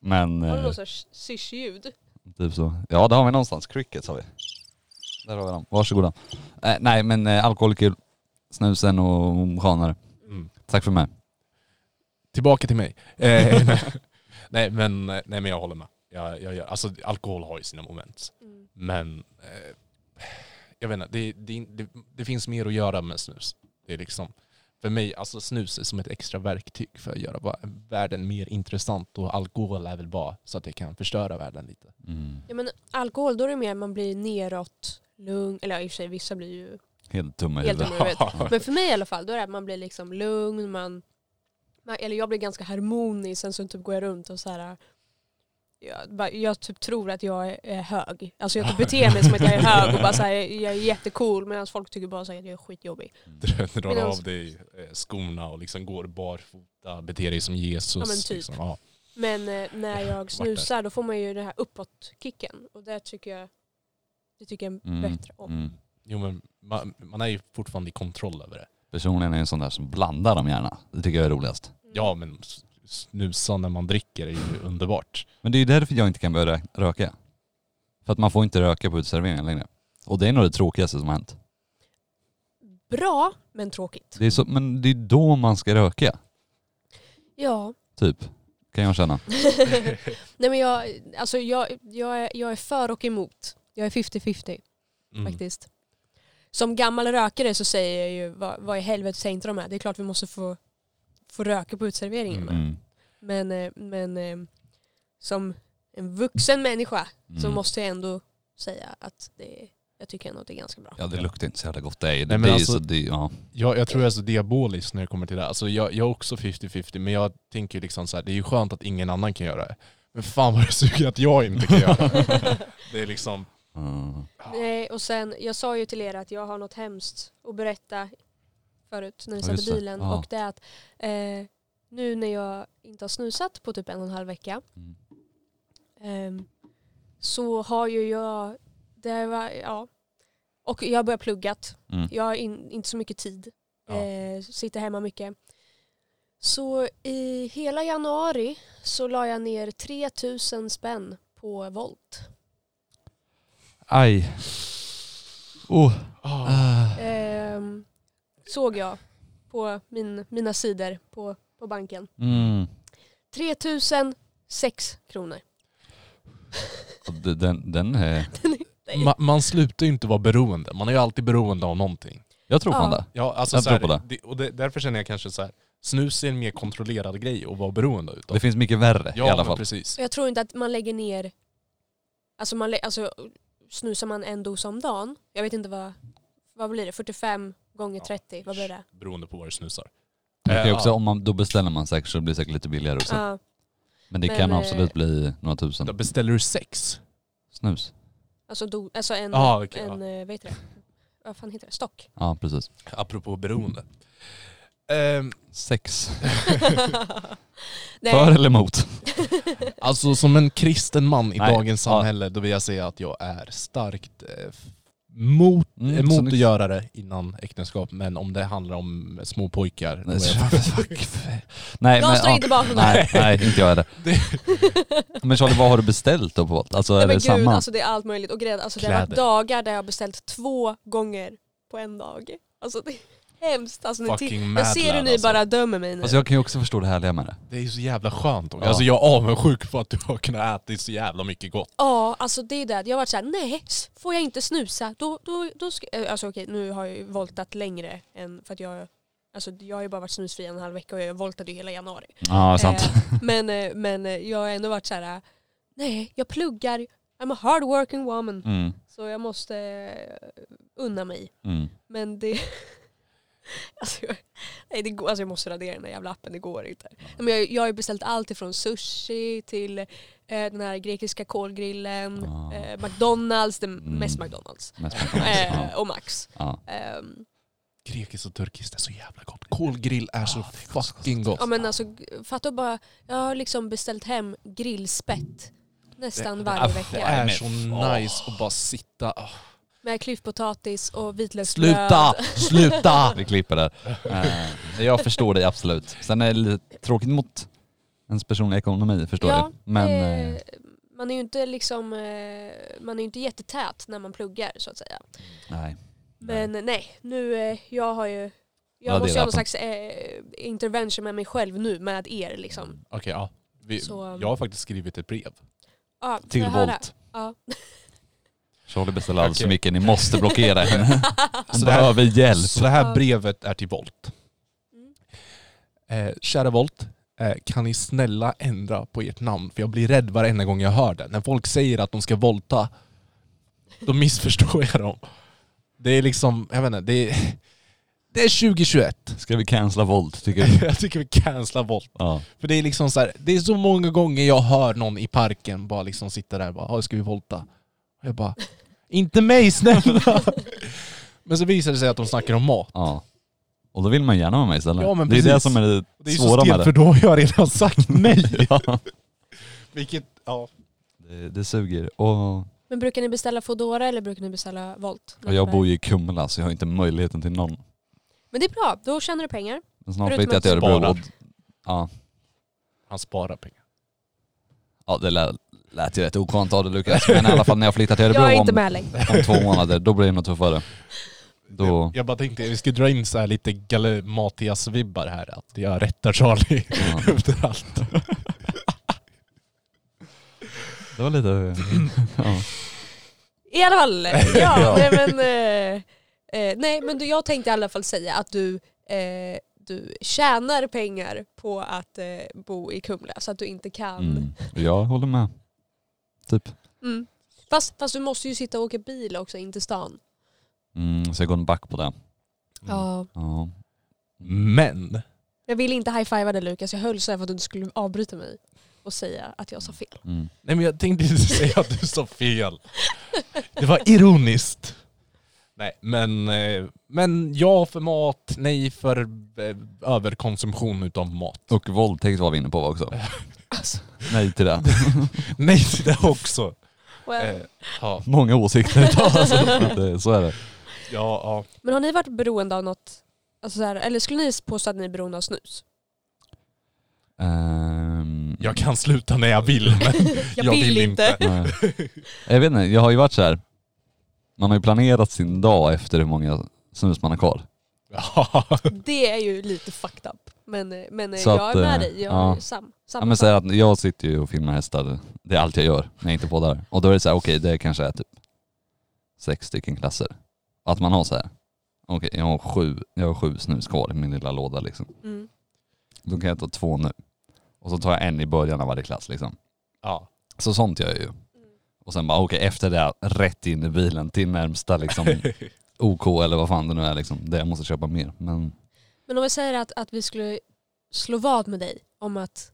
Men... Har du eh, någon sorts syrsljud? Typ så. Ja det har vi någonstans. Crickets har vi. Där har vi dem. Varsågoda. Eh, nej men eh, alkohol är kul. Snusen och sjanare. Mm. Tack för mig. Tillbaka till mig. Eh, nej. nej, men, nej men jag håller med. Jag, jag, jag, alltså, alkohol har ju sina moment. Mm. Men eh, jag vet inte, det, det, det, det finns mer att göra med snus. Det är liksom, för mig, alltså snus är som ett extra verktyg för att göra bara världen mer intressant och alkohol är väl bara så att det kan förstöra världen lite. Ja, men alkohol då är det mer man blir neråt, lugn, eller ja, i och för sig vissa blir ju Helt dumma i Helt huvudet. dumma. vet. Men för mig i alla fall, då är det att man blir liksom lugn, man, man, eller jag blir ganska harmonisk, sen så typ går jag runt och så här jag, bara- jag typ tror att jag är- är hög. Alltså jag typ beter mig som att jag är hög och bara så här, jag är jättecool medan folk tycker bara så här, att jag är skitjobbig. Drar Men av alltså- dig eh, skorna och liksom går barfota, beter dig som Jesus. Ja, men typ. liksom. ja. Men eh, när Ja, vart jag snusar då får man ju den här uppåtkicken och det tycker jag, det tycker jag Mm. bättre om. Mm. Jo men man, man är ju fortfarande i kontroll över det. Personligen är jag en sån där som blandar dem gärna. Det tycker jag är roligast. Mm. Ja men s- snusa när man dricker är ju underbart. Men det är ju därför jag inte kan börja rö- röka. För att man får inte röka på uteserveringar längre. Och det är nog det tråkigaste som har hänt. Bra, men tråkigt. Det är så, men det är då man ska röka. Ja. Typ. Kan jag känna. Mm. Nej men jag, alltså jag, jag, är, jag är för och emot. Jag är 50-50. Mm. faktiskt. Som gammal rökare så säger jag ju vad, vad i helvete säger inte de här? Det är klart vi måste få, få röka på utserveringarna. Mm. Men, eh, men eh, som en vuxen människa så Mm. måste jag ändå säga att det, jag tycker ändå att det är ganska bra. Ja det luktar inte så jävla gott. Det är, men det är alltså- så, det, ja. Jag, jag tror jag är så diabolisk när det kommer till det. här. Alltså jag, jag är också 50-50 men jag tänker ju liksom så här, det är ju skönt att ingen annan kan göra det. Men fan vad det suger att jag inte kan göra det. Det är liksom... Mm. Nej, Eh, och sen, jag sa ju till er att jag har något hemskt att berätta förut när vi Ja, satt just i det. bilen. Ja. Och det är att eh, nu när jag inte har snusat på typ en och en halv vecka Mm. Ehm, så har ju jag, det var, ja. Och jag har börjat pluggat. Mm. Jag har in, inte så mycket tid. Ja. Eh, sitter hemma mycket. Så i hela januari så la jag ner 3000 spänn på Volt. Aj. Oh. Ah, Ah. Ehm, såg jag på min, mina sidor på, på banken. Mm. 3006 kronor. Och d- Den, den är... ma, man slutar ju inte vara beroende. Man är ju alltid beroende av någonting. Jag tror fan Ja. det. Ja, alltså Jag så här, tror på det. och det, därför känner jag kanske så här, snus är en mer kontrollerad grej att vara beroende utav. Det finns mycket värre ja, i alla men fall. precis. Och jag tror inte att man lägger ner, alltså, man, lä- alltså snusar man en dos om dagen, jag vet inte vad, vad blir det, 45 gånger Ja. 30, vad blir det? Beroende på vad du snusar. Det kan ju Eh, också, ja. om man, då beställer man säkert så blir det säkert lite billigare också. Ja. Men det men, kan eh, absolut bli några Då tusen. beställer du sex? Snus. Alltså, do, alltså en, Ja, okej, en eh, vad heter det? Vad fan heter det? Stock. Ja precis. Apropå beroende. Ehm, Sex. Nej. För eller emot? alltså som en kristen man i Nej, dagens ja. samhälle, då vill jag säga att jag är starkt eh, f- mot, Mm, emot snyggt. att göra det innan äktenskap, men om det handlar om små pojkar, då är Nej, jag fuck. nej, Jag men, står ja. inte bakom det här. Nej, nej, inte jag heller. Men Charlie, vad har du beställt då på Volt? Alltså Nej, är men det gud, samma? alltså det är allt möjligt. Och grejen, alltså det har varit Kläder. dagar där jag har beställt två gånger på en dag. Alltså det är hemskt. Alltså, ni till- fucking mad jag ser hur lad, ni alltså. bara dömer mig nu. Alltså jag kan ju också förstå det härliga med det. Det är ju så jävla skönt. Ja. Alltså jag är avundsjuk på att du har kunnat äta så jävla mycket gott. Ja, alltså det är det. Jag har varit såhär, nej, s- får jag inte snusa då, då, då ska eh, Alltså okej, nu har jag ju voltat längre än för att jag Alltså jag har ju bara varit snusfri en halv vecka och jag voltade ju hela januari. Ja, sant. Eh, men, eh, men eh, jag har ändå varit såhär, nej, jag pluggar, I'm a hard working woman. Mm, Så jag måste eh, unna mig. mm. Men det... Alltså jag, nej, det går, alltså jag måste radera den där jävla appen, det går inte. Nej, Men jag, jag har ju beställt allt ifrån sushi till eh, den här grekiska kolgrillen, Ah. eh, McDonalds, det mest Mm. McDonalds, Mest eh, ja, och Max. ja. Ehm, Grekiskt och turkiskt är så jävla gott. Kolgrill är så fucking gott. ja men alltså g- fatta bara, jag har liksom beställt hem grillspett Eh, nästan ah, varje Det vecka. är men så fan. nice att bara sitta. ah. Med klyftpotatis och vitlöksbröd. Sluta! Sluta! Vi klipper där. Eh, jag förstår dig absolut. Sen är det lite tråkigt mot ens personliga ekonomi, förstår Ja, du. Men eh, eh, man är ju inte liksom, eh, man är ju inte jättetät när man pluggar så att säga. nej. Men eh, nej, nu, eh, jag har ju, jag Ja, det är måste ju ha rappen. någon slags eh, intervention med mig själv nu, med er liksom. Okej, ja. Vi, Så, um, jag har faktiskt skrivit ett brev. Ja, får Till jag höra? Volt. Ja. Charlie beställer alldeles för Okej. mycket, ni måste blockera henne. Hon Så det här- behöver hjälp. Så det här Ja. brevet är till Volt. Mm. Eh, kära Volt, eh, kan ni snälla ändra på ert namn? För jag blir rädd varenda gång jag hör det. När folk säger att de ska volta, då missförstår jag dem. Det är liksom, jag vet inte, det är, det är 2021. Ska vi cancella Volt tycker du? Jag tycker vi cancelar Volt. Ja. För det är liksom så här, det är så många gånger jag hör någon i parken bara liksom sitta där och bara "Ja, ska vi volta? Och jag bara, inte mig snälla! Men så visar det sig att de snackar om mat. ja. Och då vill man gärna vara med istället. Ja, men det är det precis. som är det, Det är ju så svåra med stelt för det. då har jag redan sagt nej. ja. Vilket, ja. det. Det suger. Och, Men brukar ni beställa Foodora eller brukar ni beställa Volt? och jag bor ju i Kumla så jag har inte möjligheten till någon. Men det är bra, då tjänar du pengar. Men snart Förutom flyttar jag till att Örebro. spara. Och, ja. Han sparar pengar. ja, det lät, lät ju rätt oskönt av dig Lukas. Men i alla fall när jag flyttar till Jag är Örebro inte om, med längre. om två månader, då blir det nog tuffare. Då, Jag bara tänkte, vi skulle dra in så här lite Galle Matias-vibbar här. Att jag rättar Charlie ja. efter allt. Det var lite... Ja. I alla fall, Ja. ja, nej men, eh, eh, nej, men du, jag tänkte i alla fall säga att du, eh, du tjänar pengar på att eh, bo i Kumla så att du inte kan. Mm. Jag håller med. Typ. Mm. Fast, fast du måste ju sitta och åka bil också in till stan. Mm, så jag går en back på det. Ja. Ja. Men, Jag ville inte high-fiva dig Lukas, jag höll så här för att du inte skulle avbryta mig och säga att jag sa fel. Mm. nej men jag tänkte inte säga att du sa fel. Det var ironiskt. Nej, men, eh, men ja för mat, nej för eh, överkonsumtion utav mat. Och våldtäkt var vi inne på också. Alltså, Nej till det. Nej till det också. well. Eh, ja, Många åsikter idag alltså. Men det- Så är det. ja, ja. Men har ni varit beroende av något, alltså så här, eller skulle ni påstå att ni är beroende av snus? Ehm, Jag kan sluta när jag vill men jag, vill inte. nej. Jag vet inte, jag har ju varit så här. Man har ju planerat sin dag efter hur många snus man har kvar. Ja. Det är ju lite fucked up. Men, eh, men eh, Så jag att, är med eh, dig, jag ja. är ju sam, samma Ja, men så sak. här att jag sitter ju och filmar hästar, det är allt jag gör när jag inte poddar. Och då är det så här, okej det kanske är typ sex stycken klasser. Att man har så här, okej jag har sju, jag har sju snus kvar i min lilla låda liksom. Mm. Då kan jag ta två nu. Och så tar jag en i början av varje klass liksom. ja. Så sånt gör jag ju. Och sen bara okej, efter det, här, rätt in i bilen till närmsta liksom OK eller vad fan det nu är liksom. Det jag måste köpa mer. Men Men om jag säger att, att vi skulle slå vad med dig om att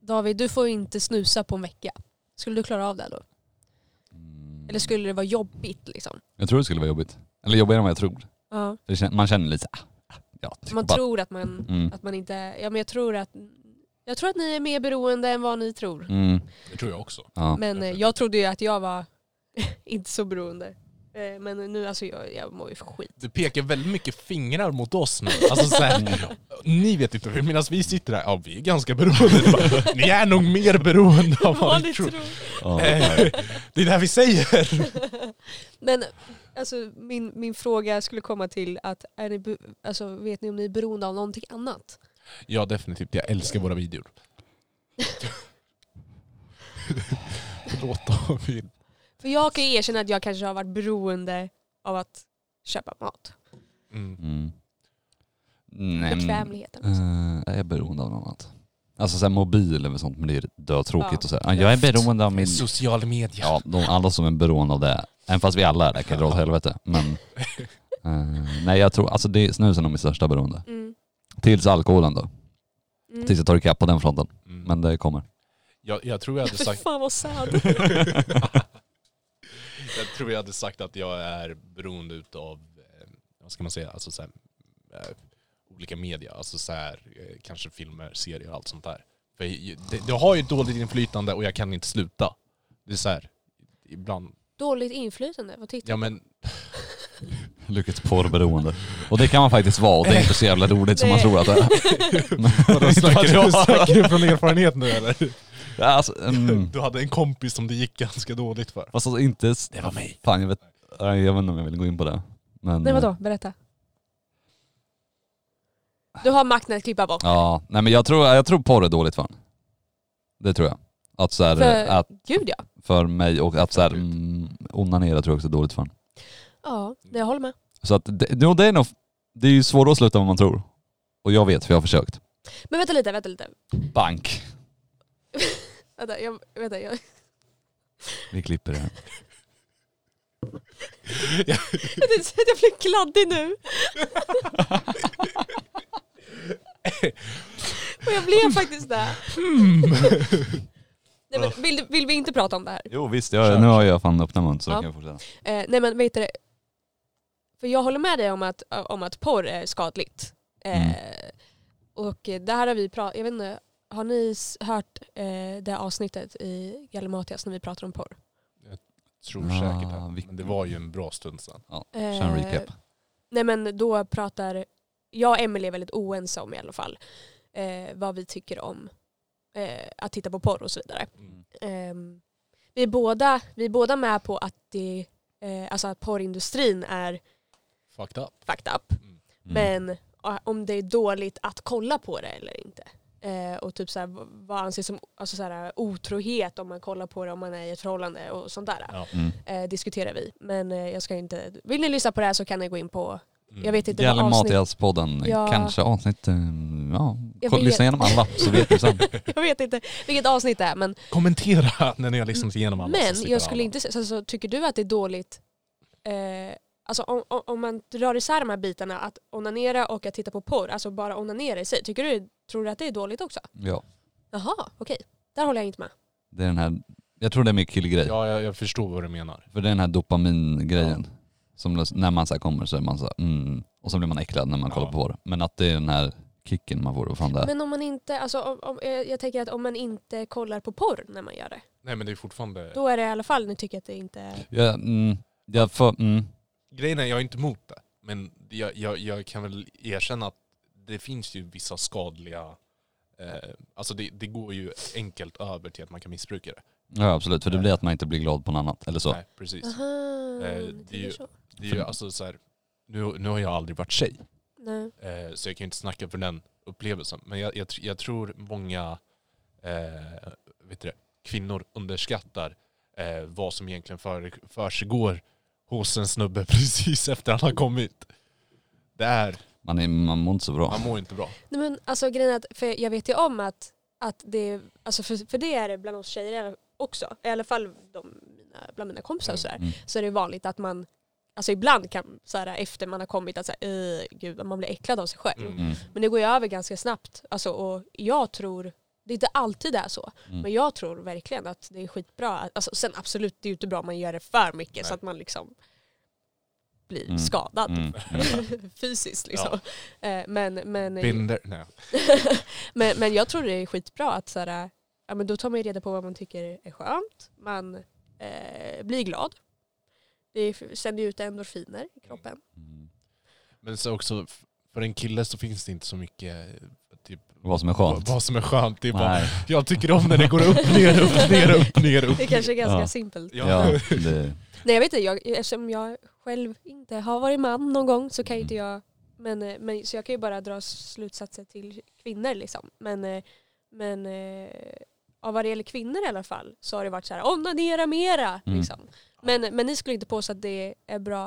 David, du får inte snusa på en vecka. Skulle du klara av det då? mm, Eller skulle det vara jobbigt liksom? jag tror det skulle vara jobbigt. Eller jobbigare än vad jag tror. Ja. Det kän- Man känner lite ah, ja, tycker Man bara- tror att man, Mm. att man inte... Ja, men jag tror att... Jag tror att ni är mer beroende än vad ni tror. Mm, Det tror jag också. ja. Men eh, jag trodde ju att jag var inte så beroende. Eh, Men nu alltså, jag, jag mår ju för skit. Du pekar väldigt mycket fingrar mot oss nu. Alltså så här, ni vet inte, för medan vi sitter här, ja vi är ganska beroende. ni är nog mer beroende av vad ni tror. Ja. Eh, det är det här vi säger. Men alltså, min, min fråga skulle komma till att är ni, be- alltså, vet ni om ni är beroende av någonting annat? Ja definitivt, jag älskar våra videor. Förlåt David. För jag kan ju erkänna att jag kanske har varit beroende av att köpa mat. Mm. Mm. Nej, men- Bekvämligheten. också. Eh, jag är beroende av något annat. Alltså såhär mobil eller sånt, men det är dötråkigt Ja. och såhär. Jag är beroende av min... Social media. Ja, de, alla som är beroende av det. Även fast vi alla är det kan dra åt helvete. Men... eh, nej jag tror, alltså det är snusen är mitt största beroende. Mm. Tills alkoholen då. Mm. Tills jag tar ikapp på den fronten. Mm. Men det kommer. Jag, jag tror jag hade Fy sagt... fan vad sad. jag tror jag hade sagt att jag är beroende utav, eh, vad ska man säga, alltså så här, eh, olika media, alltså så här, eh, kanske filmer, serier och allt sånt där. För ju- det, det har ju ett dåligt inflytande och jag kan inte sluta. Det är så här, ibland, Dåligt inflytande, vad tittar ja men Lyckligt porrberoende. Och det kan man faktiskt vara och det är inte så jävla roligt som man Nej. tror att det är. Vadå, snackar, du, Vadå? snackar du från erfarenhet nu eller? Alltså, mm. Du hade en kompis som det gick ganska dåligt för. Fast alltså inte... s- Det var mig. Fan jag vet, nej, jag vet inte om jag vill gå in på det. Men, Nej vadå, berätta. Du har makten att klippa bort. eh, Ja, nej men jag tror, jag tror porr är dåligt för en. Det tror jag. Att så här, För, att gud ja. för mig och att så här, Absolut. mm, onanera tror jag också är dåligt för en. Ja, det jag håller med. Så att det, jo, det är nog, det är ju svårare att sluta än vad man tror. Och jag vet för jag har försökt. Men vänta lite, vänta lite. Bank. Vänta, jag, vänta, jag, Vi klipper det här. jag tänkte säga att jag blev kladdig nu. Och jag blev faktiskt det. Mm. Nej, men vill, du- vill vi inte prata om det här? Jo visst, jag, nu har jag fan öppnat mun så Ja. då kan jag fortsätta. Eh, nej men vet du det? För jag håller med dig om att, om att porr är skadligt. Eh, Och eh, det här har vi pratat, jag vet inte, har ni s- hört eh, det avsnittet i Gallimatias när vi pratar om porr? Tror Ah, säkert det. Men vilken- det var ju en bra stund sedan. Kör en Eh, recap. Nej men då pratar jag och Emelie är väldigt oense om i alla fall eh, vad vi tycker om eh, att titta på porr och så vidare. Mm. Ehm, vi, är båda, vi är båda med på att, det, eh, alltså att porrindustrin är Fucked up. fucked up. Mm. Men ah, om det är dåligt att kolla på det eller inte. Eh, och typ så här, v- vad anses som alltså så här, otrohet om man kollar på det om man är i ett förhållande och sånt där. Ja. Mm. Eh, diskuterar vi. Men eh, jag ska inte... Vill ni lyssna på det här så kan ni gå in på... Mm. Jag vet inte vad Gäller avsnitt... Matias-podden, Ja. kanske avsnitt, eh, ja. Jag Kolla- vet. Lyssna igenom alla så vet du sen. Jag vet inte vilket avsnitt det är. Men, Kommentera när ni har lyssnat igenom alla. så men slipper jag skulle alla. inte... säga- Så, så, tycker du att det är dåligt... Eh, alltså om, om- om man drar isär de här bitarna, att onanera och att titta på porr, alltså bara onanera i sig. Tycker du, tror du att det är dåligt också? Ja, Jaha, okej. Där håller jag inte med. det är den här, jag tror det är min killgrej. Ja, jag, jag förstår vad du menar. För det är den här dopamingrejen. Som lös- när man så här kommer så är man så här, mm. Och så blir man äcklad när man Ja. kollar på det. Men att det är den här kicken man får, vad fan det är. Men om man inte, alltså, om, om, eh, jag tänker att om man inte kollar på porr när man gör det, Nej men det är fortfarande... då är det i alla fall, nu tycker jag att det inte... Jag, mm, jag för, mm, Grejen är, jag är inte emot det. Men jag, jag, jag kan väl erkänna att det finns ju vissa skadliga... Eh, alltså det, det går ju enkelt över till att man kan missbruka det. ja absolut. För det blir att man inte blir glad på något annat. Eller så. Nej, precis. Aha, Eh, ni det är tycker ju- så. Det är ju alltså så här, nu, nu har jag aldrig varit tjej. Nej. Eh, så jag kan ju inte snacka för den upplevelsen. Men jag, jag, tr- jag tror många eh, vet du det, kvinnor underskattar eh, vad som egentligen för, försiggår hos en snubbe precis efter han har kommit. Det är, Man, är, man mår inte så bra. man mår inte bra. Nej, men alltså grejen är att, för jag vet ju om att, att det, alltså för, för det är det bland oss tjejer också, i alla fall de, mina, bland mina kompisar och sådär, Mm. så är det vanligt att man Alltså ibland kan så här, efter man har kommit att så här, "Öh, gud, man blir äcklad av sig själv. Mm. Mm. Men det går ju över ganska snabbt. Alltså, och jag tror, det är inte alltid det är så, Mm. men jag tror verkligen att det är skitbra. att- Alltså, sen absolut, det är ju inte bra om man gör det för mycket Nej. så att man liksom blir Mm. skadad Mm. Mm. fysiskt. Liksom. Eh, Men, men, Binder, nej. men, men jag tror det är skitbra att så här, ja, men då tar man ju reda på vad man tycker är skönt. Man eh, blir glad. Det sänder ju ut endorfiner i kroppen. Mm. Men så också, f- för en kille så finns det inte så mycket eh, typ, Vad som är vad, skönt. vad som är skönt. Det är bara, Nej, jag tycker om när det går upp, ner, upp, ner, upp, ner, upp. Det kanske är ganska Ja. simpelt. ja, det, Nej jag vet inte, jag, eftersom jag själv inte har varit man någon gång så kan ju inte Mm. jag, men, eh, men, så jag kan ju bara dra slutsatser till kvinnor liksom. Men, eh, men eh, ja, vad det gäller kvinnor i alla fall så har det varit så här, onanera mera Mm. liksom. Men, men ni skulle inte påstå att det är bra,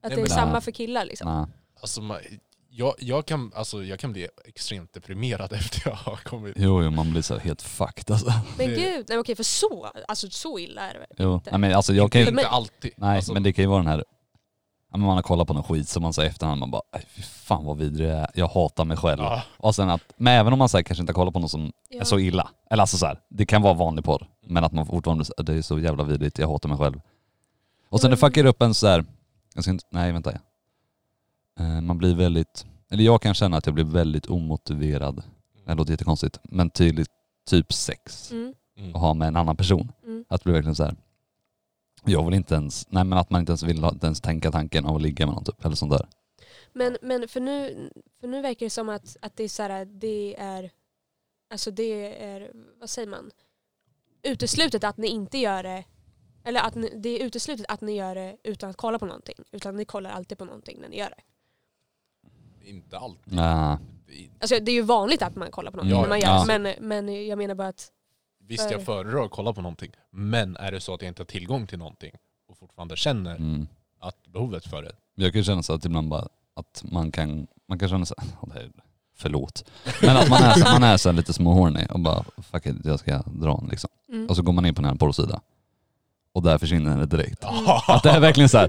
att det är men- samma Nej. för killar liksom. nej. Alltså, ma- jag, jag, kan, alltså, jag kan bli extremt deprimerad efter jag har kommit. Jo, jo, man blir så här helt fucked alltså. Men Det- gud, nej, okej för så, alltså så illa är det väl? Jo. Nej, men alltså jag kan ju, inte mig- alltid. Nej, alltså, men det kan ju vara den här... Ja, men man har kollat på någon skit som man säger efterhand, man bara "Aj, fy fan vad vidrig jag är, jag hatar mig själv. ja, Och sen att, men även om man så här, kanske inte har kollat på någon som är Ja. så illa, eller alltså så här, det kan vara vanlig porr, men att man fortfarande, så- det är så jävla vidrigt, jag hatar mig själv. Och sen det Men- fuckar upp en så här, jag ska inte, nej vänta. Eh, man blir väldigt, eller jag kan känna att jag blir väldigt omotiverad, det låter jättekonstigt, men tydligt typ sex Mm, mm. och ha med en annan person. mm, Att bli verkligen så här. Jag vill inte ens, nej men att man inte ens vill ha, inte ens tänka tanken av att ligga med någon typ, eller sånt där. Men, men för, nu, för nu verkar det som att, att det är så här, det är, alltså det är, vad säger man, uteslutet att ni inte gör det, eller att ni, det är uteslutet att ni gör det utan att kolla på någonting, utan ni kollar alltid på någonting när ni gör det. Inte alltid. Nej. Alltså det är ju vanligt att man kollar på någonting Ja, när man gör ja. det, men, men jag menar bara att, Visst, För- jag föredrar att kolla på någonting. Men är det så att jag inte har tillgång till någonting och fortfarande känner Mm. att behovet för det. Jag kan känna så att ibland bara, att man kan, man kan känna så här, "Åh, det här, förlåt. Men att man är, så- man är så här lite småhorny och bara, fuck it, jag ska dra en liksom. mm, Och så går man in på den här porrsida. Och där försvinner det direkt. Mm. Att det är verkligen så här,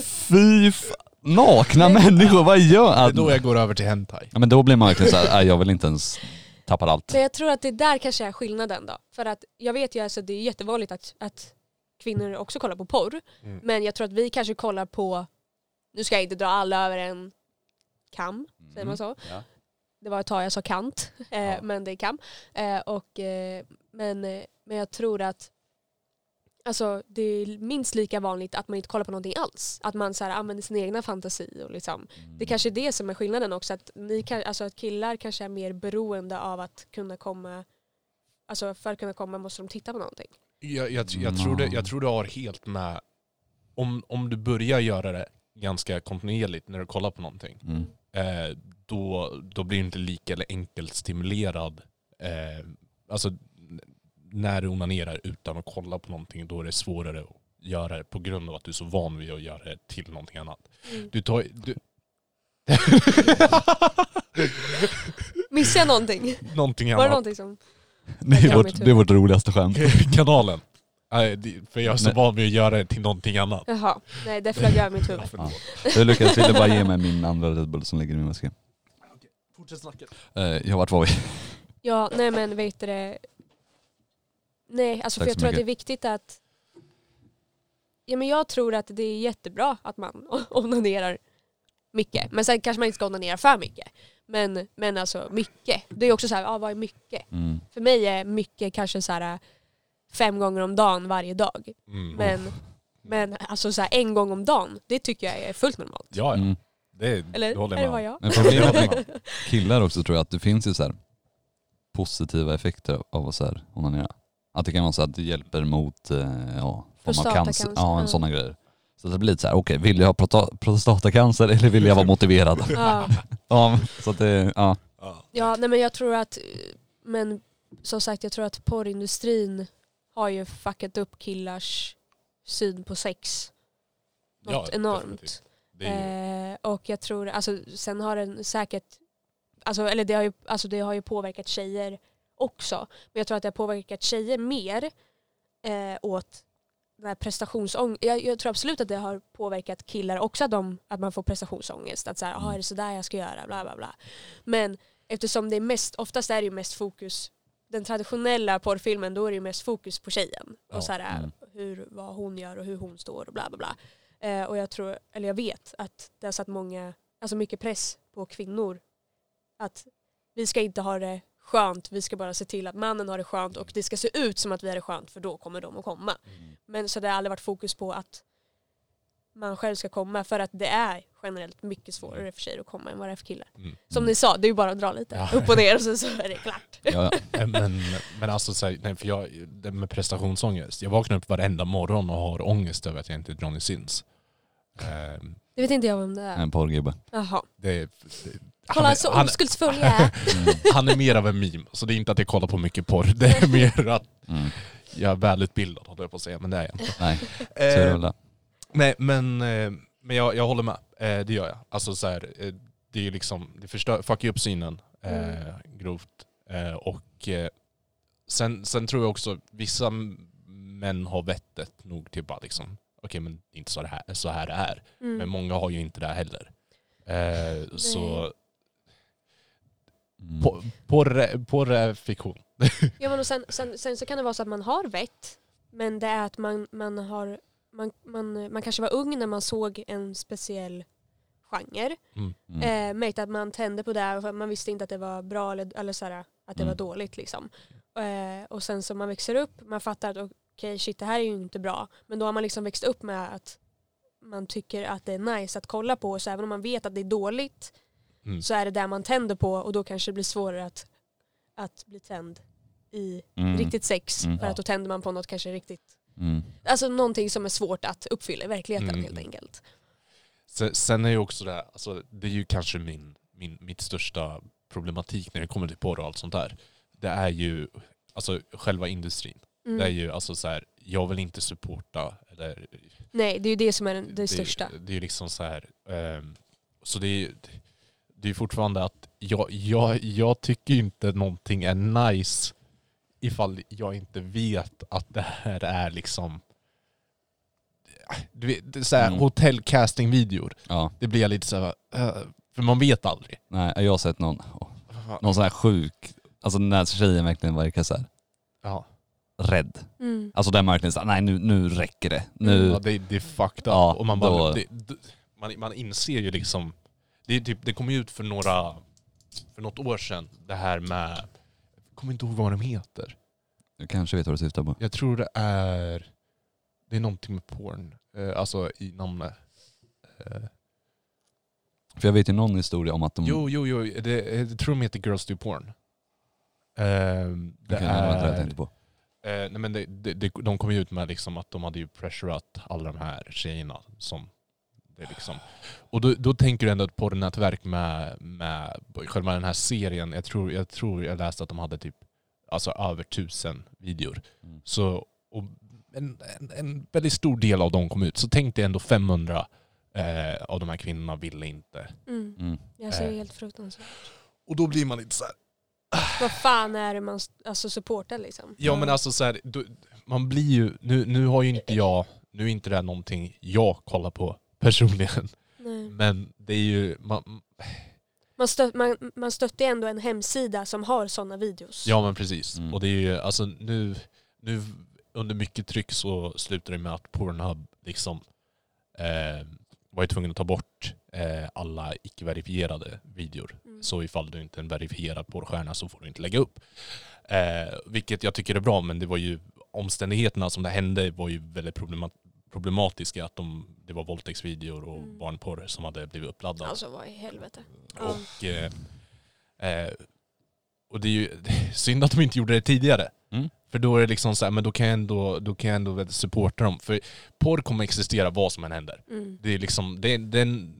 fy f- nakna människor, vad gör... Det Att, är då jag går över till hentai. ja, men då blir man verkligen så här, "Nej, jag vill inte ens, tappar allt. men jag tror att det där kanske är skillnaden då. För att jag vet ju alltså det är jättevanligt att, att kvinnor också kollar på porr, Mm. men jag tror att vi kanske kollar på, nu ska jag inte dra alla över en kam, Säger man så? Ja. Det var ett tag jag sa kant, eh, Mm. Ja. men det är kam. Eh, och, eh, men, eh, men jag tror att alltså, det är minst lika vanligt att man inte kollar på någonting alls. Att man så här, använder sin egna fantasi. Och liksom. Det Mm. kanske är det som är skillnaden också. Att, ni kan, alltså, att killar kanske är mer beroende av att kunna komma Alltså för att kunna komma måste de titta på någonting. Jag, jag, jag, tror det, jag tror du har helt med. Om, om du börjar göra det ganska kontinuerligt när du kollar på någonting, Mm. eh, då, då blir du inte lika eller enkelt stimulerad. Eh, alltså n- när du onanerar utan att kolla på någonting, då är det svårare att göra det på grund av att du är så van vid att göra det till någonting annat. Du tar du... Missar jag någonting? någonting Var det annat. någonting som... Det Jag är, kan vårt, mitt det är vårt roligaste skämt. Kanalen. Nej, det- för jag är så Nej. van vid att göra det till någonting annat. Jaha, nej det flög över mitt Ja, huvud. förlåt. Jag lyckades ville bara ge mig min andra Red Bull som ligger i min väska. Fortsätt snacket. Eh, ja, vart var vi? Ja, nej men vet du det. Nej, alltså för Tack jag så tror att mycket. det är viktigt att Ja men jag tror att det är jättebra att man onanerar mycket. Men sen kanske man inte ska onanera för mycket. Men, men alltså mycket. Det är också så här, ja, vad är mycket? Mm. För mig är mycket kanske så här äh, fem gånger om dagen varje dag. Mm. Men, men alltså så här, en gång om dagen, det tycker jag är fullt normalt. Ja, ja. Mm. Det, Eller? det håller Är det jag vad med om. jag? Men problemet med killar också tror jag att det finns ju så här positiva effekter av att så här onanera. Att det kan vara så att det hjälper mot eh, ja, form av cancer. Prostatacancer, Ja, ja. en sådana grejer. Så det blir lite så här, okej vill jag ha prota- prostatacancer eller vill jag vara motiverad? Ja. ja, så att det, ja. Ja. Ja, nej men jag tror att, eh, men som sagt jag tror att porrindustrin har ju fuckat upp killars syn på sex. Något Ja, enormt. definitivt. Det är ju, Eh, och jag tror, alltså sen har den säkert, alltså, eller det har, ju, alltså, det har ju påverkat tjejer också. Men jag tror att det har påverkat tjejer mer eh, åt den här prestationsång- jag, jag tror absolut att det har påverkat killar också att, de, att man får prestationsångest. Att så här, Mm. "Aha, är det sådär jag ska göra? Bla, bla, bla. Men eftersom det är mest, oftast är det ju mest fokus, den traditionella porrfilmen då är det ju mest fokus på tjejen. Ja, Och så här, mm. hur, vad hon gör och hur hon står och bla bla bla. Eh, och jag tror, eller jag vet att det har satt många, alltså mycket press på kvinnor. Att vi ska inte ha det skönt, vi ska bara se till att mannen har det skönt och det ska se ut som att vi har det skönt för då kommer de att komma. Men så det har aldrig varit fokus på att man själv ska komma för att det är generellt mycket svårare för tjejer att komma än vad det är för killar. Mm. Som ni sa, det är ju bara att dra lite Ja. upp och ner och sen så är det klart. Ja, ja. Eh, Men, men alltså, så här, nej, för jag, det med prestationsångest. Jag vaknar upp varenda morgon och har ångest över att jag inte är Johnny Sins. Eh, Det vet inte jag vem det är. en porrgubbe. Jaha. det, är- Kolla är- så Mm. han, oskuldsfull jag är. Mm. han är mer av en meme, så det är inte att jag kollar på mycket porr. Det är mer att Mm. jag är välutbildad, håller jag på att säga, men det är jag inte. Nej, Eh, tur eh. Nej, men, eh, men jag, jag håller med. Eh, det gör jag. Alltså så här, eh, det är ju liksom, det förstör, fuckar ju upp synen eh, Mm. grovt. Eh, och eh, sen, sen tror jag också, vissa m- män har vettet nog till bara liksom, okej men det är inte så, det här, så här det är. Men Mm. många har ju inte det heller. Eh, så Mm. på- porr porr är fiktion. Ja, men och sen, sen, sen så kan det vara så att man har vett, men det är att man, man har man, man, man kanske var ung när man såg en speciell genre. Mm. Eh, märkte att man tände på det för att man visste inte att det var bra eller, eller så här, att det Mm. var dåligt liksom. Eh, och sen så man växer upp, man fattar att okej shit det här är ju inte bra. Men då har man liksom växt upp med att man tycker att det är nice att kolla på. Så även om man vet att det är dåligt Mm. så är det där man tänder på och då kanske det blir svårare att, att bli tänd i Mm. riktigt sex. Mm. För att då tänder man på något kanske riktigt, Mm. alltså någonting som är svårt att uppfylla i verkligheten Mm. helt enkelt. Sen, sen är ju också det, här, alltså, det är ju kanske min, min, mitt största problematik när det kommer till porr och allt sånt där. Det är ju alltså, själva industrin. Mm. Det är ju alltså så här, jag vill inte supporta. Eller, Nej det är ju det som är den, Mm, det största. Det, är ju liksom så här, ehm, så det är ju det är ju fortfarande att jag, jag, jag tycker ju inte någonting är nice ifall jag inte vet att det här är liksom du vet, det är så här, Mm. hotellcastingvideor Ja, det blir jag lite såhär, eh, för man vet aldrig. nej, jag har sett någon, åh, någon sån här sjuk, alltså när tjejen verkligen verkar så här Ja. rädd. Mm. Alltså den verkligen såhär, nej nu, nu räcker det. Nu, Ja, det, det är fucked up. Ja, och man, bara, då- det, det, man, man inser ju liksom, det, är typ, det kom ju ut för några, för något år sedan, det här med, jag kommer inte ihåg vad de heter. du kanske vet vad du syftar på. Jag tror det är, det är någonting med porn, eh, alltså i namnet. Eh, För jag vet ju någon historia om att de... Jo, jo, jo, det, jag tror de heter Girls Do Porn. Eh, det Okej, nej, det var inte det jag är, tänkte på. Eh, nej men det, det, det, de kom ju ut med liksom att de hade ju pressurat alla de här tjejerna. Som det liksom. Och då, då tänker du ändå ett porrnätverk med, med själva den här serien. Jag tror, jag tror jag läste att de hade typ alltså över tusen videor. Mm. Så, och en, en, en väldigt stor del av dem kom ut. Så tänk dig ändå 500 eh, av de här kvinnorna ville inte. Mm. Mm. Jag ser Eh. ju helt fruktansvärt. Och då blir man lite så här. Vad fan är det man s- alltså, supportar liksom? Ja men alltså så här, du, man blir ju, nu, nu har ju inte jag, nu är inte det här någonting jag kollar på personligen. Nej. Men det är ju, man, Man, stö, man, man stöttar ju ändå en hemsida som har sådana videos. ja men precis. Mm. Och det är ju, alltså nu, nu under mycket tryck så slutar det med att Pornhub liksom eh, var ju tvungen att ta bort eh, alla icke-verifierade videor. Mm. Så ifall du inte är en verifierad porrstjärna så får du inte lägga upp. Eh, vilket jag tycker är bra, men det var ju omständigheterna som det hände var ju väldigt problemat problematiska. Att de, det var våldtäktsvideor och Mm. barnporr som hade blivit uppladdade. Alltså vad i helvete. Ja. Och, eh, eh, och det är ju det är synd att de inte gjorde det tidigare. Mm. För då är det liksom så här, men då kan jag ändå, då kan jag ändå väl supporta dem. För porr kommer existera vad som än händer. Mm. Det, är liksom, det, är- det, är en-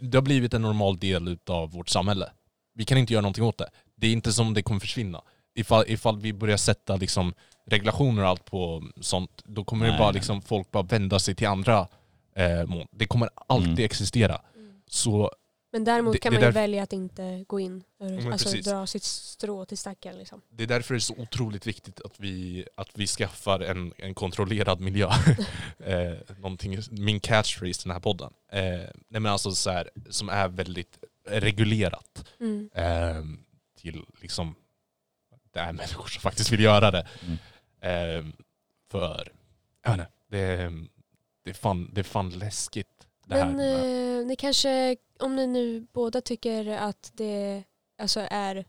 det har blivit en normal del av vårt samhälle. Vi kan inte göra någonting åt det. Det är inte som det kommer försvinna. Ifall, ifall vi börjar sätta liksom regulationer och allt på sånt, då kommer det Nej, bara nej. liksom, folk bara vända sig till andra eh, mål. Det kommer alltid Mm. existera. Mm. Så Men däremot Det- kan det man ju där- välja att inte gå in. men Alltså precis. dra sitt strå till stacken liksom. Det är därför det är så otroligt viktigt att vi, att vi skaffar en, en kontrollerad miljö. eh, någonting, min catchphrase till den här podden. Eh, nej men alltså så här, som är väldigt reglerat Mm. eh, till liksom, det är människor som faktiskt vill göra det. Mm. Eh, för, jag vet inte, det, är- det, är fan, det är fan läskigt det här. Men med- eh, ni kanske, om ni nu båda tycker att det alltså är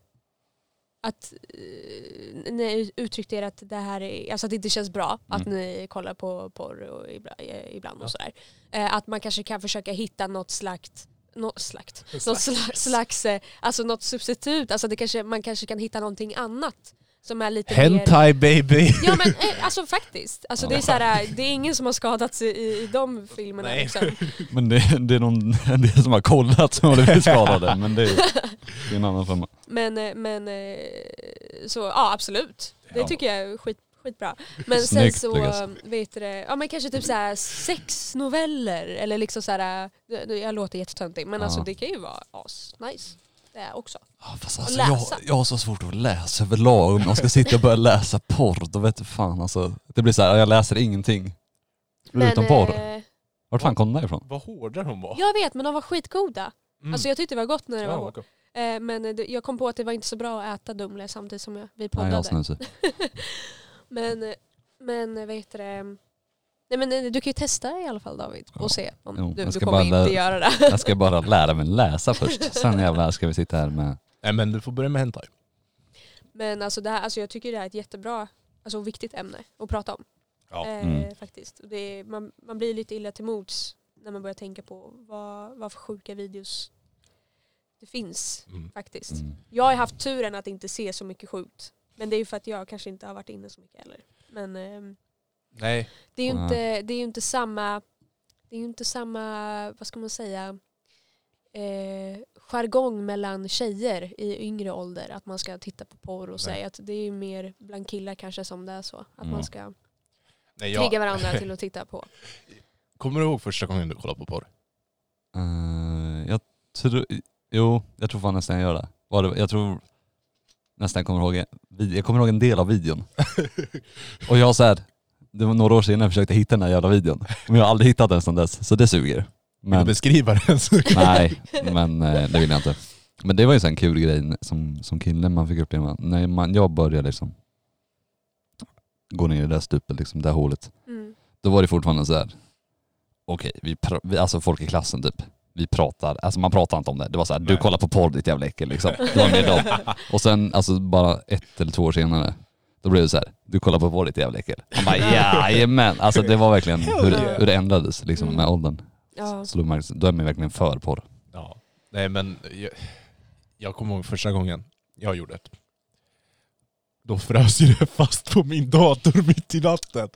att eh, ni uttryckte er att det här är, alltså att det inte känns bra att Mm. ni kollar på porr och ibla- eh, ibland Ja. och sådär. Eh, att man kanske kan försöka hitta något slakt något slakt, något Slags. slags, slags eh, alltså något substitut, alltså det kanske, man kanske kan hitta någonting annat som är lite mer Hentai baby! Ja men eh, alltså faktiskt. Alltså, det, är Ja. så här, det är ingen som har skadats i, i de filmerna. Nej. Liksom. Men det, det är någon det som har kollat som har blivit skadade. Men det är, det är en annan femma. Men, eh, men eh, så ja absolut. Det Ja. tycker jag är skit, skitbra. Men sen Snyggt, så, Lukas. eh, vet du det, ja men kanske typ så här sexnoveller eller liksom så här, eh, nu- nu- jag låter jättetöntig men Ja. alltså det kan ju vara asnice. Det är också. Ja, fast Och alltså, jag, läsa. jag har så svårt att läsa överlag. Om jag ska sitta och börja läsa porr, då vet du fan alltså. Det blir så här, jag läser ingenting. Förutom men, porr. eh, Vart fan kom den där ifrån? Vad hårdare hon var. Jag vet men de var skitgoda. Mm. Alltså jag tyckte det var gott när det var Ja, hårt. vad gott. Eh, Men eh, det- jag kom på att det var inte så bra att äta Dumle samtidigt som jag, vi Nej, poddade. jag snusar. Men, eh, men vad heter det? Nej men eh, du kan ju testa i alla fall David och Ja. se om Jo, du, jag du ska kommer bara inte lära- göra det. Jag ska bara lära mig läsa först. Sen jävlar ska vi sitta här med... Nej men du får börja med hentai. Men alltså, det här, alltså jag tycker det här är ett jättebra alltså viktigt ämne att prata om. Ja. Eh, Mm. faktiskt. Och Det är, man, man blir lite illa till mods när man börjar tänka på vad, vad för sjuka videos det finns Mm. faktiskt. Mm. Jag har haft turen att inte se så mycket sjukt. Men det är ju för att jag kanske inte har varit inne så mycket heller. Men ehm, Nej. Det är ju Ja. inte, det är ju inte samma, det är ju inte samma, vad ska man säga, eh, jargong mellan tjejer i yngre ålder. Att man ska titta på porr och Nej. säga att det är ju mer bland killar kanske som det är så. Att Mm. man ska Nej, jag- trigga varandra till att titta på. Kommer du ihåg första gången du kollade på porr? Eh, jag tror... Jo, jag tror fan nästan jag gör det. Var det jag tror nästan jag kommer ihåg... en vid- Jag kommer ihåg en del av videon. Och jag så här, det var några år sedan jag försökte hitta den här jävla videon. Men jag har aldrig hittat den sedan dess, så det suger. Vill du Men, beskriva den? Så... nej, men eh, det vill jag inte. Men det var ju så en kul grej som, som kille man fick uppleva. När man, jag började liksom gå ner i det där stupet, liksom, det där hålet. Mm. Då var det fortfarande så här. okej, vi pra- vi, alltså folk i klassen typ. Vi pratar, alltså man pratar inte om det. Det var så här, du Nej. kollar på porr ditt jävla äckel liksom. Det var mer dem. Och sen alltså bara ett eller två år senare, då blev det så här, du kollar på vår ditt jävla äckel. Han bara jajamän. Alltså det var verkligen hur, det- hur det ändrades liksom med åldern. Ja. Så då, märks, då är man ju verkligen för porr. Ja. Nej men jag, jag kommer ihåg första gången jag gjorde det. Då frös ju det fast på min dator mitt i natten.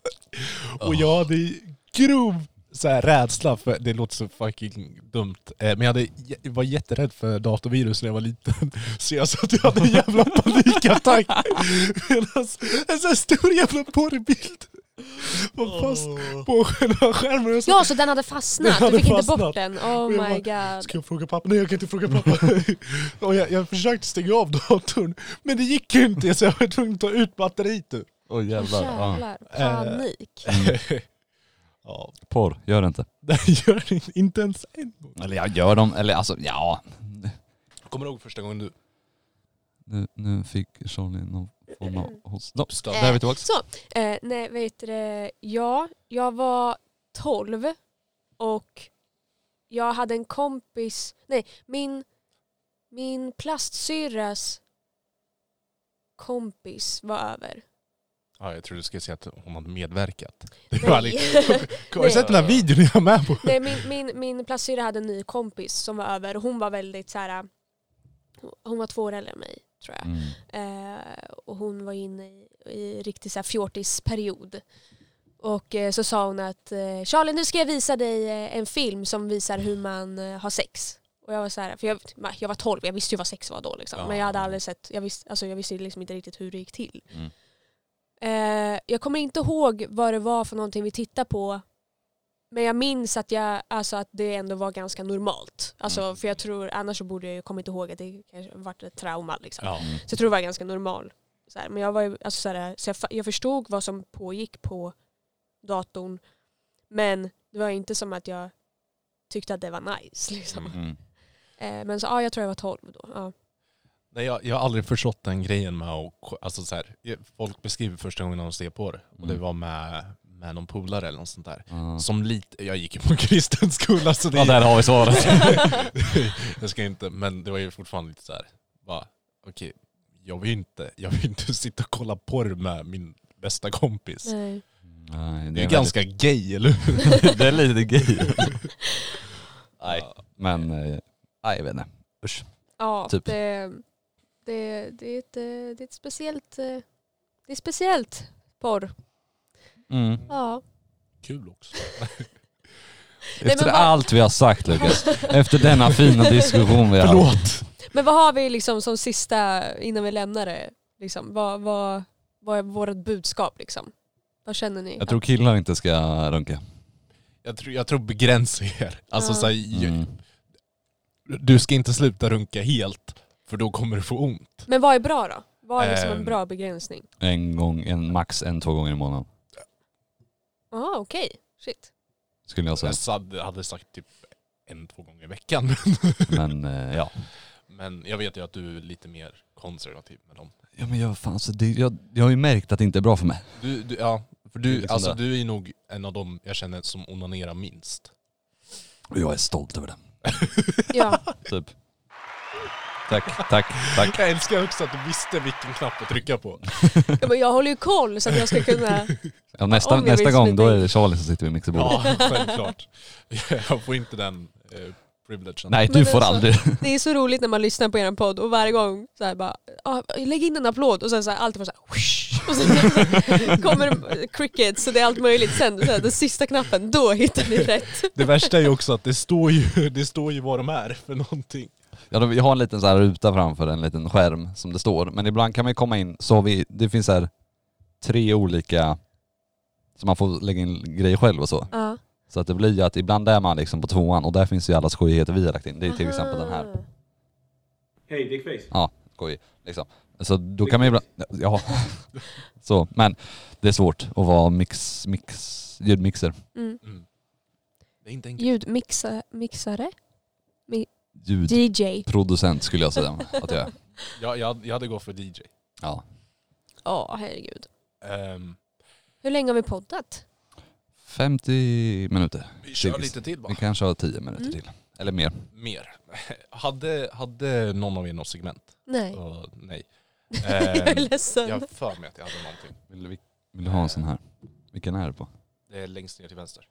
Och jag hade grov så här rädsla för, det låter så fucking dumt, eh, men jag hade, jag var jätterädd för datorvirus när jag var liten. Så jag sa att jag hade en jävla panikattack. Medan en sån här stor jävla porrbild var fast på själva skärmen. Jag sa, ja, så den hade fastnat. Den hade du fick inte fastnat. bort den. Oh Och jag my god. Ska jag fråga pappa? Nej jag kan inte fråga pappa. och jag, jag försökte stänga av datorn, men det gick ju inte så jag var tvungen att ta ut batteriet. ur. Åh jävlar. Ja. Jävlar, Eh, panik. Ja, Porr, gör det inte. det gör det inte ens en gång. Eller jag gör dem, eller alltså ja. Kommer du ihåg första gången du Nu, nu fick Charlie någon form av hosta. uppstod? Där är vi tillbaka. Så, eh, nej vet du det? ja, jag var 12 och jag hade en kompis, nej min, min plastsyrras kompis var över. Ja, jag trodde du skulle säga att hon hade medverkat. Det var Nej, liksom, har du sett den här videon jag var med på? nej min, min, min plastsyrra hade en ny kompis som var över och hon var väldigt så här. hon var två år äldre än mig tror jag. Mm. Eh, och hon var inne i, i riktig så här fjortisperiod. Och eh, så sa hon att eh, Charlie nu ska jag visa dig eh, en film som visar hur man eh, har sex. Och jag var så här, för jag, jag var 12, jag visste ju vad sex var då liksom. Ja. Men jag hade aldrig sett, jag visste, alltså, jag visste liksom inte riktigt hur det gick till. Mm. Eh, jag kommer inte ihåg vad det var för någonting vi tittade på. Men jag minns att, jag, alltså att det ändå var ganska normalt. Alltså, Mm. För jag tror, annars så borde jag ju kommit ihåg att det kanske varit ett trauma. Liksom. Ja. Mm. Så jag tror det var ganska normal. Så här, men jag, var ju, alltså så här, så jag, fa- jag förstod vad som pågick på datorn. Men det var inte som att jag tyckte att det var nice. Liksom. Mm. Mm. Eh, men så, ja, jag tror jag var 12 då. Ja. Nej, jag, jag har aldrig förstått den grejen med att, alltså så här, folk beskriver första gången de ser på det. Och det Mm. var med, med någon polare eller något sånt där. Ja. Som lite, jag gick ju på en kristen skola så det... Ja, där har vi svaret. jag ska inte, men det var ju fortfarande lite så här, bara, okej, jag vill inte, jag vill inte sitta och kolla porr med min bästa kompis. Nej. Nej, Det är ju väldigt- ganska gay, eller hur? det är lite gay. Nej, Ja. men eh, nej, jag vet inte. Usch. Ja, Typ. det, det, det, är ett, eh, det är ett speciellt, eh, det är speciellt porr. Mm. Ja. Kul också. men Efter vad- allt vi har sagt Lukas, efter denna fina diskussion vi har haft. Förlåt! Men vad har vi liksom som sista, innan vi lämnar det, liksom, vad, vad, vad är vårt budskap? Liksom? Vad känner ni? Jag tror killar inte ska runka. Jag tror, jag tror begränsa er. Alltså Ja. så här, ju- Mm. du ska inte sluta runka helt, för då kommer du få ont. Men vad är bra då? Vad är liksom en Ehm. bra begränsning? En gång, en, max en, två gånger i månaden. Jaha okej, shit. Skulle jag säga. Jag sad- hade sagt typ en, två gånger i veckan. men- Men eh, ja. Men jag vet ju att du är lite mer konservativ med dem. Ja men jag, fan, så det, jag, jag har ju märkt att det inte är bra för mig. Du, du, ja, för Det du, är liksom alltså, det. du är ju nog en av dem jag känner som onanerar minst. Och jag är stolt över det. Ja. Typ. Tack, tack, tack. Jag älskar också att du visste vilken knapp att trycka på. Ja, men jag håller ju koll så att jag ska kunna... Ja, nästa Om vi nästa vill gång smita då är in. det Charlie som sitter vid mixerbordet. Ja, självklart. Jag får inte den eh, privilegion. Nej Men du får alltså- aldrig. Det är så roligt när man lyssnar på er podd och varje gång så här bara, ah, lägg in en applåd och sen så här, allt var så här, whoosh, och sen så här, kommer det crickets så det är allt möjligt. Sen så här, den sista knappen, då hittar ni rätt. Det värsta är ju också att det står ju, det står ju vad de är för någonting. Ja, då- jag har en liten så här ruta framför, en liten skärm som det står. Men ibland kan man ju komma in, så har vi, det finns så här tre olika, så man får lägga in grejer själv och så. Ja. Så att det blir ju att ibland är man liksom på tvåan och där finns ju alla skojigheter vi har lagt in. Det är till exempel den Ah. här. Hej, dickface. Ja, skoj. Liksom. Så då kan man ju ibland, ja. Så, men det är svårt att vara mix, mix, ljudmixer. Mm. Det är inte enkelt. Ljudmixare? Mixare? DJ? Ljudproducent skulle jag säga att jag är. Jag, jag, jag hade gått för DJ. Ja. Ja, herregud. Ehm, Hur länge har vi poddat? 50 minuter. vi kör Cirkus. lite till Vi bara. kanske har 10 minuter Mm. till. Eller mer. Mer. Hade, hade någon av er något segment? Nej. Ja, nej. jag är Ehm, ledsen. jag har för mig att jag hade någonting. Vill, vi, vill du ha en sån här? Vilken är det på? Det är längst ner till vänster.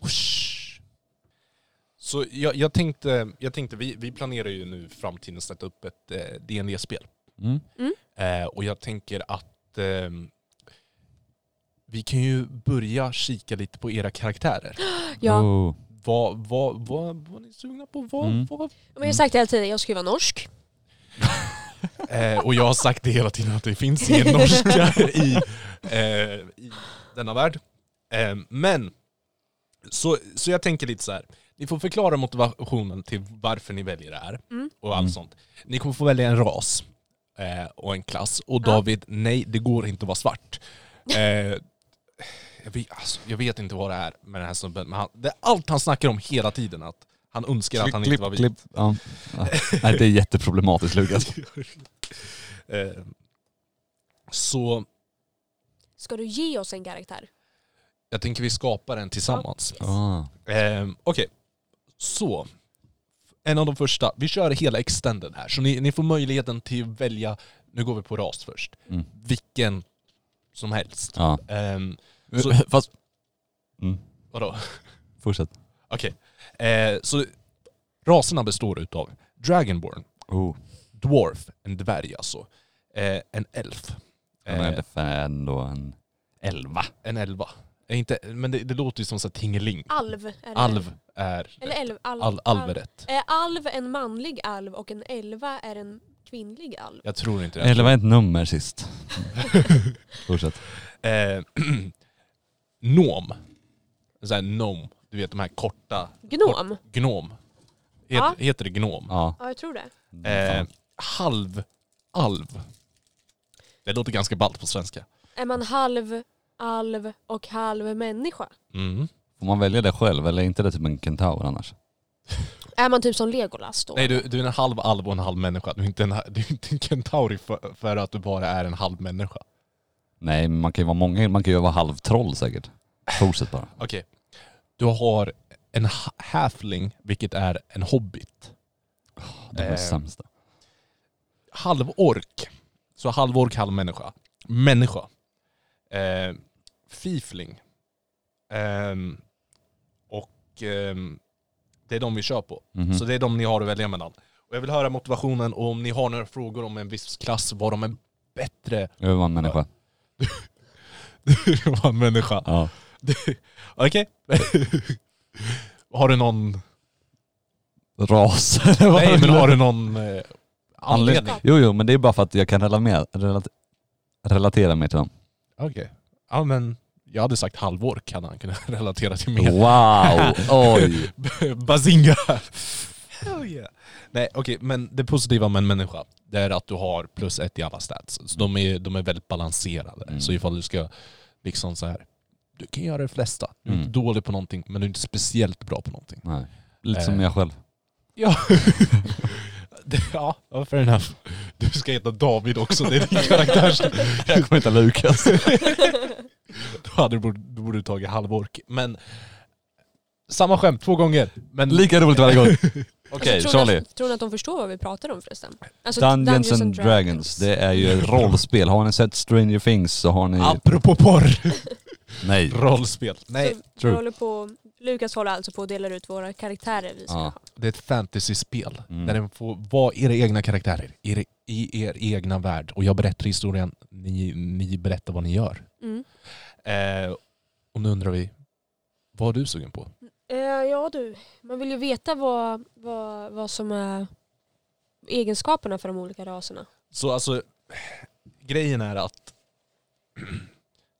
Whoosh. Så jag, jag tänkte, jag tänkte vi, vi planerar ju nu i framtiden att sätta upp ett eh, D&D-spel. Mm. Eh, och jag tänker att ehm, vi kan ju börja kika lite på era karaktärer. Ja. Oh. Vad, vad, vad, vad är ni sugna på? Vad, Mm. vad? Men jag har sagt det hela tiden, jag ska ju vara norsk. Eh, och jag har sagt det hela tiden att det finns ingen norska i, eh, i denna värld. Eh, men, så, så jag tänker lite så här. Ni får förklara motivationen till varför ni väljer det här Mm. och allt Mm. sånt. Ni kommer få välja en ras eh, och en klass. Och Ja. David, nej det går inte att vara svart. Eh, jag, vet, alltså, jag vet inte vad det är med den här snubben, men han, det är allt han snackar om hela tiden. Att han önskar att han inte var vit. Ja. Ja. Nej, det är jätteproblematiskt Lukas. Eh, så Ska du ge oss en karaktär? Jag tänker vi skapar den tillsammans. Ah. Ehm, Okej, så. En av de första. Vi kör hela extended här. Så ni, ni får möjligheten till att välja, nu går vi på ras först, Mm. vilken som helst. Ja. Ehm, Så- Så, fast... Mm. vadå? Fortsätt. Okej. Ehm, så raserna består utav Dragonborn, Oh. Dwarf, en dvärg alltså, eh, en elf. Han eh, är ändå en elva. en elva. Eh, inte, men det, det låter ju som så här tingeling. Alv? Är det. Alv är... Eller elv? Alv, Al, alv är rätt. Är alv en manlig alv och en elva är en kvinnlig alv? Jag tror inte det. Elva är ett nummer sist. Fortsätt. Eh, Nom. En sån här gnome. Du vet de här korta. Gnom? Gnom. Het, Ja. Heter det gnom? Ja. Ja, jag tror det. Eh, halv alv. Det låter ganska ballt på svenska. Är man halv alv och halv människa? Mm. Får man välja det själv eller är inte det typ en kentaur annars? Är man typ som Legolas då? Nej du, du är en halv alv och en halv människa. Du är inte en, du är inte en kentauri för, för att du bara är en halv människa. Nej, men man kan ju vara många, man kan ju vara halvtroll säkert. Fortsätt bara. Okej. Du har en ha- halfling, vilket är en hobbit. De är Eh. sämsta. Halvork. Så halvork, halv människa. Människa. Eh, fifling. Ehm, och ehm, det är de vi kör på. Mhm. Så det är de ni har att välja mellan. Och jag vill höra motivationen och om ni har några frågor om en viss klass, var de är bättre Jag var en människa. än en människa. Ja. Okej. har du någon... Ras. Nej, men har du någon eh, anledning? Anledning. Jo, jo, men det är bara för att jag kan rela- med- relat- relatera mig till dem. Okej. Ja, men jag hade sagt halvår kan han kunna relatera till mer. Wow! Oj! Bazinga! Hell yeah. Nej, okej, men det positiva med en människa, det är att du har plus ett i alla stats. Så de är, de är väldigt balanserade. Mm. Så ifall du ska liksom så här, du kan göra det flesta. Du är Mm. inte dålig på någonting, men du är inte speciellt bra på någonting. Nej. Lite Eh. som jag själv. Ja, Det- ja ja, fair enough. Du ska heta David också, det är din karaktärs... Jag kommer inte Lukas. Då hade du borde, du borde tagit halvork. Men samma skämt två gånger. Men Lika roligt varje gång. Okej, alltså, tror, ni Charlie. att, tror ni att de förstår vad vi pratar om förresten? Alltså, Dungeons, and Dragons. det är ju ett rollspel. Har ni sett Stranger Things så har ni... apropå porr, Nej. rollspel. Nej, Nej, så true. vi håller på, Lukas håller alltså på att dela ut våra karaktärer vi ska Ja. ha. det är ett fantasyspel. Mm. Där den får vara era egna karaktärer i er, i er egna värld. Och jag berättar historien, ni, ni berättar vad ni gör. Mm. Eh, och nu undrar vi, vad är du sugen på? Eh, ja du, man vill ju veta vad, vad, vad som är egenskaperna för de olika raserna. Så alltså, grejen är att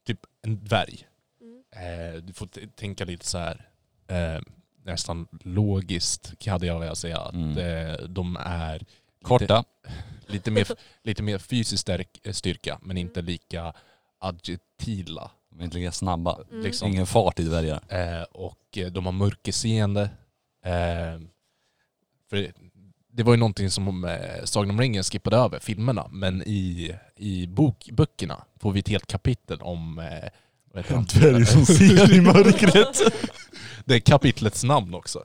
typ en dvärg, Mm. eh, du får t- tänka lite så här eh, nästan logiskt hade jag velat säga att Mm. eh, de är Lite, Korta. lite, mer, lite mer fysisk stärk, eh, styrka men inte lika adjetila. De är inte lika snabba. Mm. Liksom. Ingen fart i dvärgar. Eh, och eh, de har mörkerseende. Eh, för det var ju någonting som eh, Sagan om ringen skippade över, filmerna. Men i, i bok, böckerna får vi ett helt kapitel om... Eh, vad heter han? i mörkret. det är kapitlets namn också.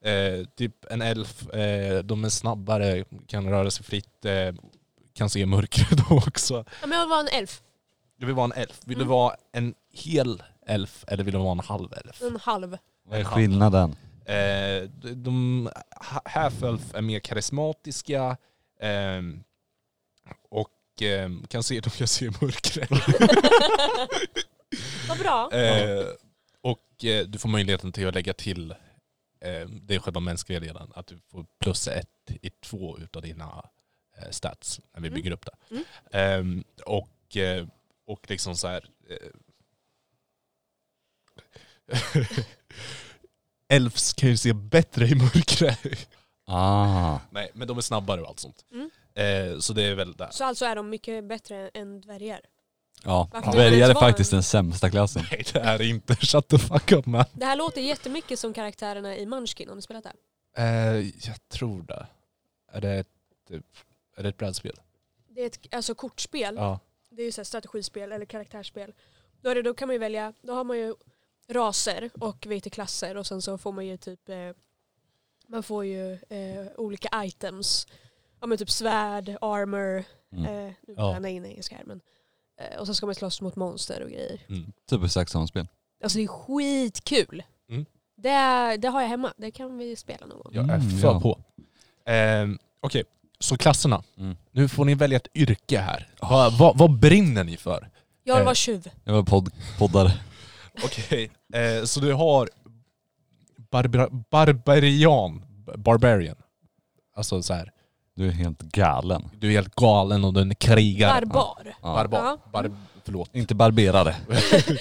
Eh, typ en elf, eh, de är snabbare, kan röra sig fritt, eh, kan se i mörkret då också. Ja, men jag var en elf, Du vill vara en elf. Vill du Mm. vara en hel elf eller vill du vara en halv elf? en halv. Vad är skillnaden? Eh, de- de ha- Half-Elf är mer karismatiska ehm, och ehm, kan se, de kan se i mörkret. Vad bra. Eh, och eh, du får möjligheten till att lägga till, eh, det är själva mänskliga delen, att du får plus ett i två utav dina eh, stats när vi Mm. bygger upp det. Mm. Ehm, och, eh, och liksom så här... Eh, Elfs kan ju se bättre i mörkret. Ah. Nej, men de är snabbare och allt sånt. Mm. Eh, så det är väl där. Så alltså är de mycket bättre än dvärgar. Ja. Varför är Dvärgar det är ett barn? faktiskt den sämsta klassen. Nej, det är inte. Shut the fuck up man. Det här låter jättemycket som karaktärerna i Munchkin, har ni spelat det? Eh, jag tror det. Är det ett, är det ett brädspel? Det är ett alltså, Mm. kortspel, Ja. det är ju så här strategispel eller karaktärsspel. Då, är det, då kan man ju välja, då har man ju raser och VT-klasser och sen så får man ju typ, eh, man får ju eh, olika items. Ja men typ svärd, armor, Mm. eh, nu Ja. blandar jag in engelska här men. Eh, och sen ska man slåss mot monster och grejer. Typ exakt samma spel. Alltså det är skitkul. Mm. Det, det har jag hemma, det kan vi spela någon gång. Jag är Mm, för ja. på. Ehm, Okej, så klasserna. Mm. Ah. Nu får ni välja ett yrke här. Vad, vad, vad brinner ni för? Jag Eh. var tjuv. Jag var podd, poddare. Okej, eh, så du har barbara, barbarian. Barbarian. Alltså så här. Du är helt galen. du är helt galen och du är en krigare. Barbar. Ja. Mm. Barbar. Ja. Bar, Förlåt. Inte barberare. Ja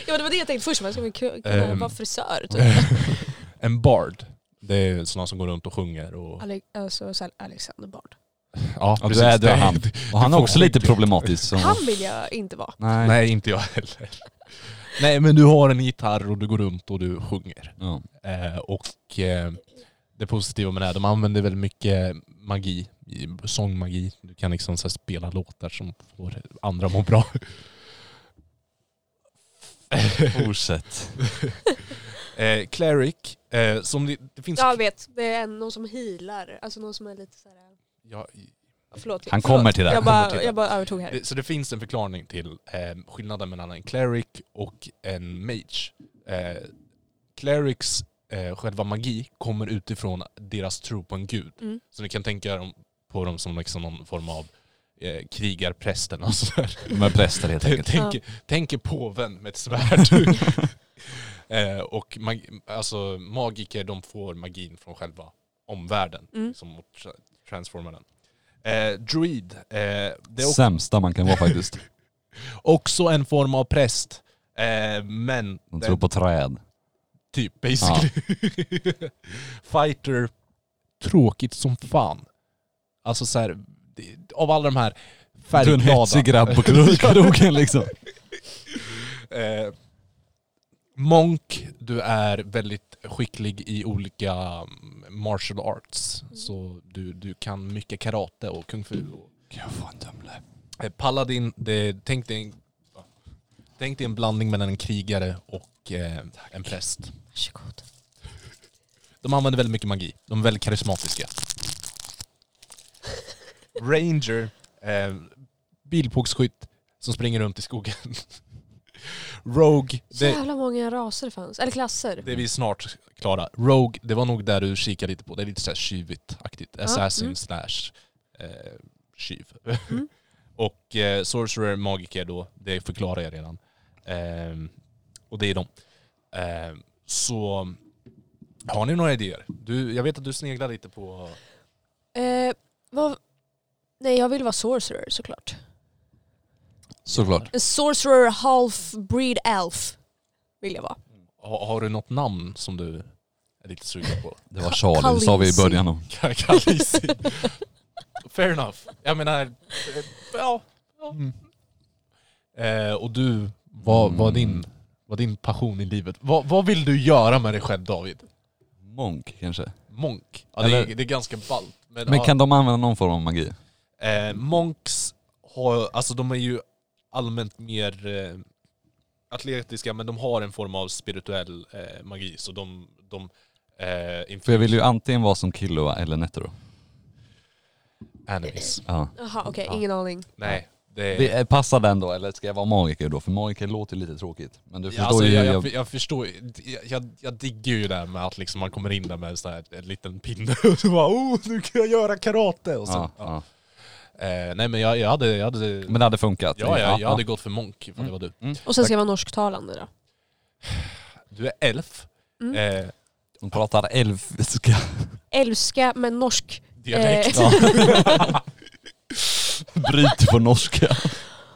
men det var det jag tänkte först, man ska väl ku- kunna Ehm. vara frisör typ. en bard. Det är sådana som går runt och sjunger och... Ale- alltså så här, Alexander Bard. Ja, Ja, du är, du är han. Och han är får också lite skit. problematisk. Så. Han vill jag inte vara. Nej. Nej, inte jag heller. Nej, men du har en gitarr och du går runt och du sjunger. Ja. Eh, och eh, det positiva med det här, de använder väldigt mycket magi, i- sångmagi. Du kan liksom så här, spela låtar som får andra må bra. Fortsätt. eh, Cleric, eh, som det, det finns... Ja jag vet, det är en, någon som healar. Alltså någon som är lite så här. Ja, Förlåt. Han förlåt. kommer till det. Jag kommer till bara, det. jag bara övertog här. det, så det finns en förklaring till eh, skillnaden mellan en cleric och en mage. Eh, clerics eh, själva magi kommer utifrån deras tro på en gud. Mm. Så ni kan tänka er om- på dem som liksom någon form av eh, krigarprästen och sådär. De är präster helt enkelt. Tänk, Ja. tänk er påven med ett svärd. eh, och mag, alltså, magiker de får magin från själva omvärlden. Mm. Som att tra- transforma den. Eh, druid, eh, det är också, Sämsta man kan vara faktiskt. också en form av präst. Eh, men De det- tror på träd. typ basically. Fighter, tråkigt som fan. Alltså så här, det- av alla de här Du är en färgglada. hetsig grabb på kro- krogen liksom. Eh, Monk, du är väldigt skicklig i olika mm, martial arts. Så du, du kan mycket karate och kung fu. Och, Jag får en tumle. eh, Paladin, det, tänk, dig en, tänk dig en blandning mellan en krigare och eh, en präst. Varsågod. De använder väldigt mycket magi. De är väldigt karismatiska. Ranger, eh, bilpågsskytt som springer runt i skogen. Rogue, Så det, jävla många raser det fanns. Eller klasser. Det är vi snart klara. Rogue, det var nog där du kikade lite på. Det är lite såhär tjuvigt-aktigt. Assassin mm. slash eh, tjuv. Mm. och eh, Sorcerer, Magiker då, det förklarar jag redan. Ehm, och det är de. Ehm, så har ni några idéer? Du, jag vet att du sneglar lite på... Eh, vad... Nej jag vill vara sorcerer såklart. Såklart. En sorcerer half breed elf vill jag vara. Har, har du något namn som du är lite sugen på? Det var Charlie, det sa vi i början. om. Kalisi. Fair enough. Jag menar, eh, ja. ja. Eh, och du, vad Mm. var din, vad din passion i livet? Vad, vad vill du göra med dig själv David? Monk kanske. Monk? Ja, det, är, Eller- det är ganska ballt. Men, Men ja, kan de använda någon form av magi? eh, monks har, alltså de är ju allmänt mer eh, atletiska men de har en form av spirituell eh, magi så de, de eh, För jag vill ju antingen vara som Killua eller Netero. Animes. Ja. Jaha okej, Ja. ingen aning. Nej, det Det, eh, passar den då eller ska jag vara magiker då? För magiker låter lite tråkigt. Men du Ja, förstår alltså, ju jag, hur jag, jag förstår ju. jag, jag, jag digger ju det här med att liksom man kommer in där med så här en liten pinne och så bara oh, nu kan jag göra karate och så. Ja, ja. ja. Eh, nej men jag, jag hade, jag hade Men Mm. det hade funkat. ja, jag, jag hade gått för monk ifall det var du. Och sen ska jag vara norsktalande då. Du är elf. Mm. Eh, De pratar elfiska. Älska men norsk. dialekt. Eh, Bryter på norska.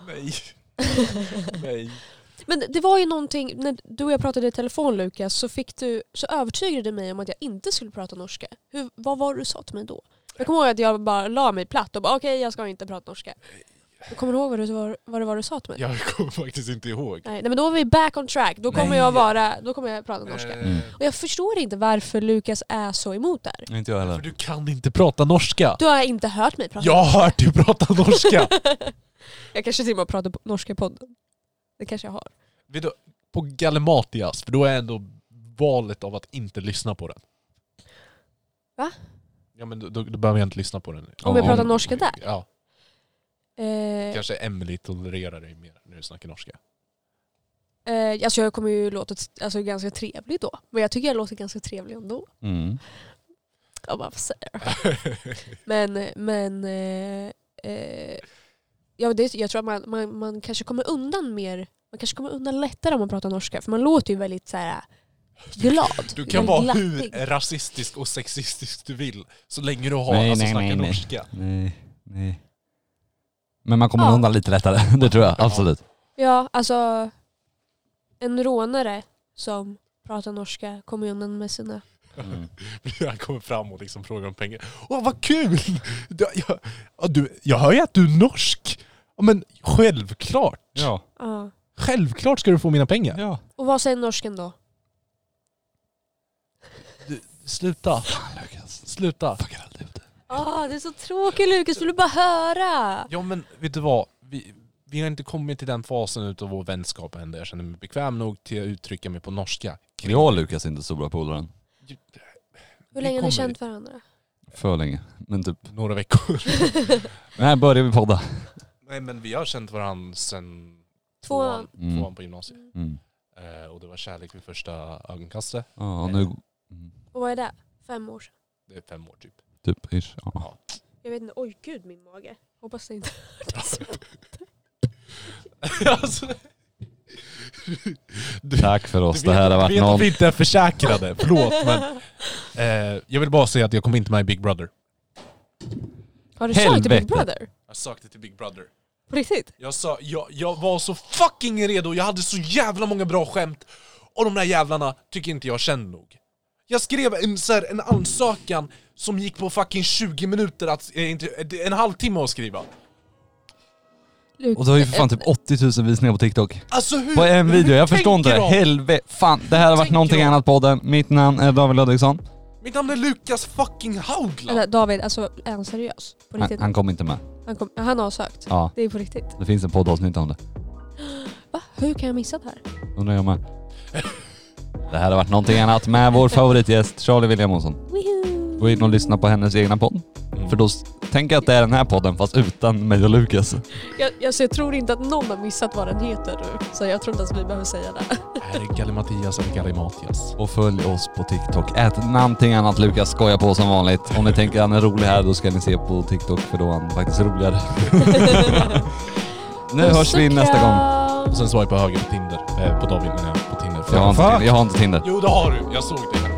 Nej. nej. men det var ju någonting, när du och jag pratade i telefon Lukas så, fick du, så övertygade du mig om att jag inte skulle prata norska. Hur, vad var det du sa till mig då? Jag kommer ihåg att jag bara la mig platt och bara okej jag ska inte prata norska. Eh, Jag kommer du ihåg vad, du, var- vad det var du sa till mig? Jag kommer faktiskt inte ihåg. Nej, nej men då är vi back on track, då kommer Nej. Eh. jag vara, då kommer jag prata norska. Mm. Och jag förstår inte varför Lukas är så emot där. Inte jag För heller. du kan inte prata norska. Du har inte hört mig prata. Jag har hört dig prata norska. Jag kanske till och med pratar på norska i podden. Det kanske jag har. Vet du, på Galimatias, för då är ändå valet av att inte lyssna på den. Va? Ja men då, då, då behöver jag inte lyssna på den. Om jag pratar norska där. Ja, Eh, kanske Emily tolererar dig mer när du snackar norska. eh, alltså jag kommer ju låta alltså, ganska trevlig då. Men jag tycker jag låter ganska trevlig ändå. Mm. Jag bara, vad säger du? Men, men eh, eh, ja, det, jag tror att man, man, man kanske kommer undan mer man kanske kommer undan lättare om man pratar norska för man låter ju väldigt så här, glad. Du kan väldigt vara glattig. hur rasistisk och sexistisk du vill så länge du har Nej, alltså nej, snacka nej, nej. norska. Nej, nej. Men man kommer Ja. undan lite lättare, det tror jag. Absolut. Ja, alltså en rånare som pratar norska kommer ju undan med sina... Mm. Han kommer fram och liksom frågar om pengar. Åh vad kul! Jag, jag, ja, du, jag hör ju att du är norsk. Ja, men självklart. Ja. Ja. Självklart ska du få mina pengar. ja. Och vad säger norsken då? Sluta. Fan Lukas. Sluta. Fuckar aldrig ut det. Ah, det är så tråkigt Lukas, vill du bara höra? Ja men vet du vad? Vi, vi har inte kommit till den fasen utav vår vänskap än där jag känner mig bekväm nog till att uttrycka mig på norska. Jag och Lukas är inte så bra polare än. Hur länge har kommer ni känt varandra? För länge. Men typ, Några veckor. men här börjar vi podda. Nej men vi har känt varandra sedan Tvåan. tvåan, Mm. tvåan på gymnasiet. Mm. Eh, och det var kärlek vid första ögonkastet. Ja, och nu... Mm. Och vad är det? Fem år sedan? Det är fem år typ. Typ, ish. Ja. Jag vet inte, oj gud min mage. Hoppas det inte hördes. alltså, du, Tack för du oss. vet- Det här har du varit vet att någon... vi inte är försäkrade. Förlåt men. Eh, jag vill bara säga att jag kom inte med i Big Brother. Har du sagt till Helvete. Big Brother? Jag sökte till Big Brother. På riktigt? Jag sa, jag, jag var så fucking redo, jag hade så jävla många bra skämt och de där jävlarna tycker inte jag känner nog. Jag skrev en, så här, en ansökan som gick på fucking 20 minuter, att, eh, inte, en halvtimme att skriva. Och du har ju för fan typ 80 000 visningar på TikTok. Alltså hur? På en video, hur jag förstår inte tänker det. de? Helvete. Fan, det här har varit Tänker någonting de? annat podden. Mitt namn är David Ludvigsson. Mitt namn är Lukas fucking Haugland. Vänta, David, alltså är han seriös? På Han, riktigt? han kom inte med. Han, kom, han har sökt. Ja, Det är på riktigt. det finns en poddavsnitt om det. Va? Hur kan jag missa det här? Undrar jag med. Det här har varit någonting annat med vår favoritgäst Charlie William Olsson. Woohoo! Gå in och lyssna på hennes egna podd. För då s- tänker jag att det är den här podden fast utan mig och Lukas. Jag, jag, så jag tror inte att någon har missat vad den heter nu. Så jag tror inte ens vi behöver säga det. Här är Galle Mattias eller Galle Matias. Och följ oss på TikTok. Ät någonting annat Lukas skojar på som vanligt. Om ni tänker att han är rolig här då ska ni se på TikTok för då är han faktiskt roligare. nu hörs vi nästa gång. gång. Och sen swipa höger på Tinder. Eh, på David menar jag, på Tinder. Jag har inte Tinder. Jag har inte Tinder. Jo det har du, jag såg det.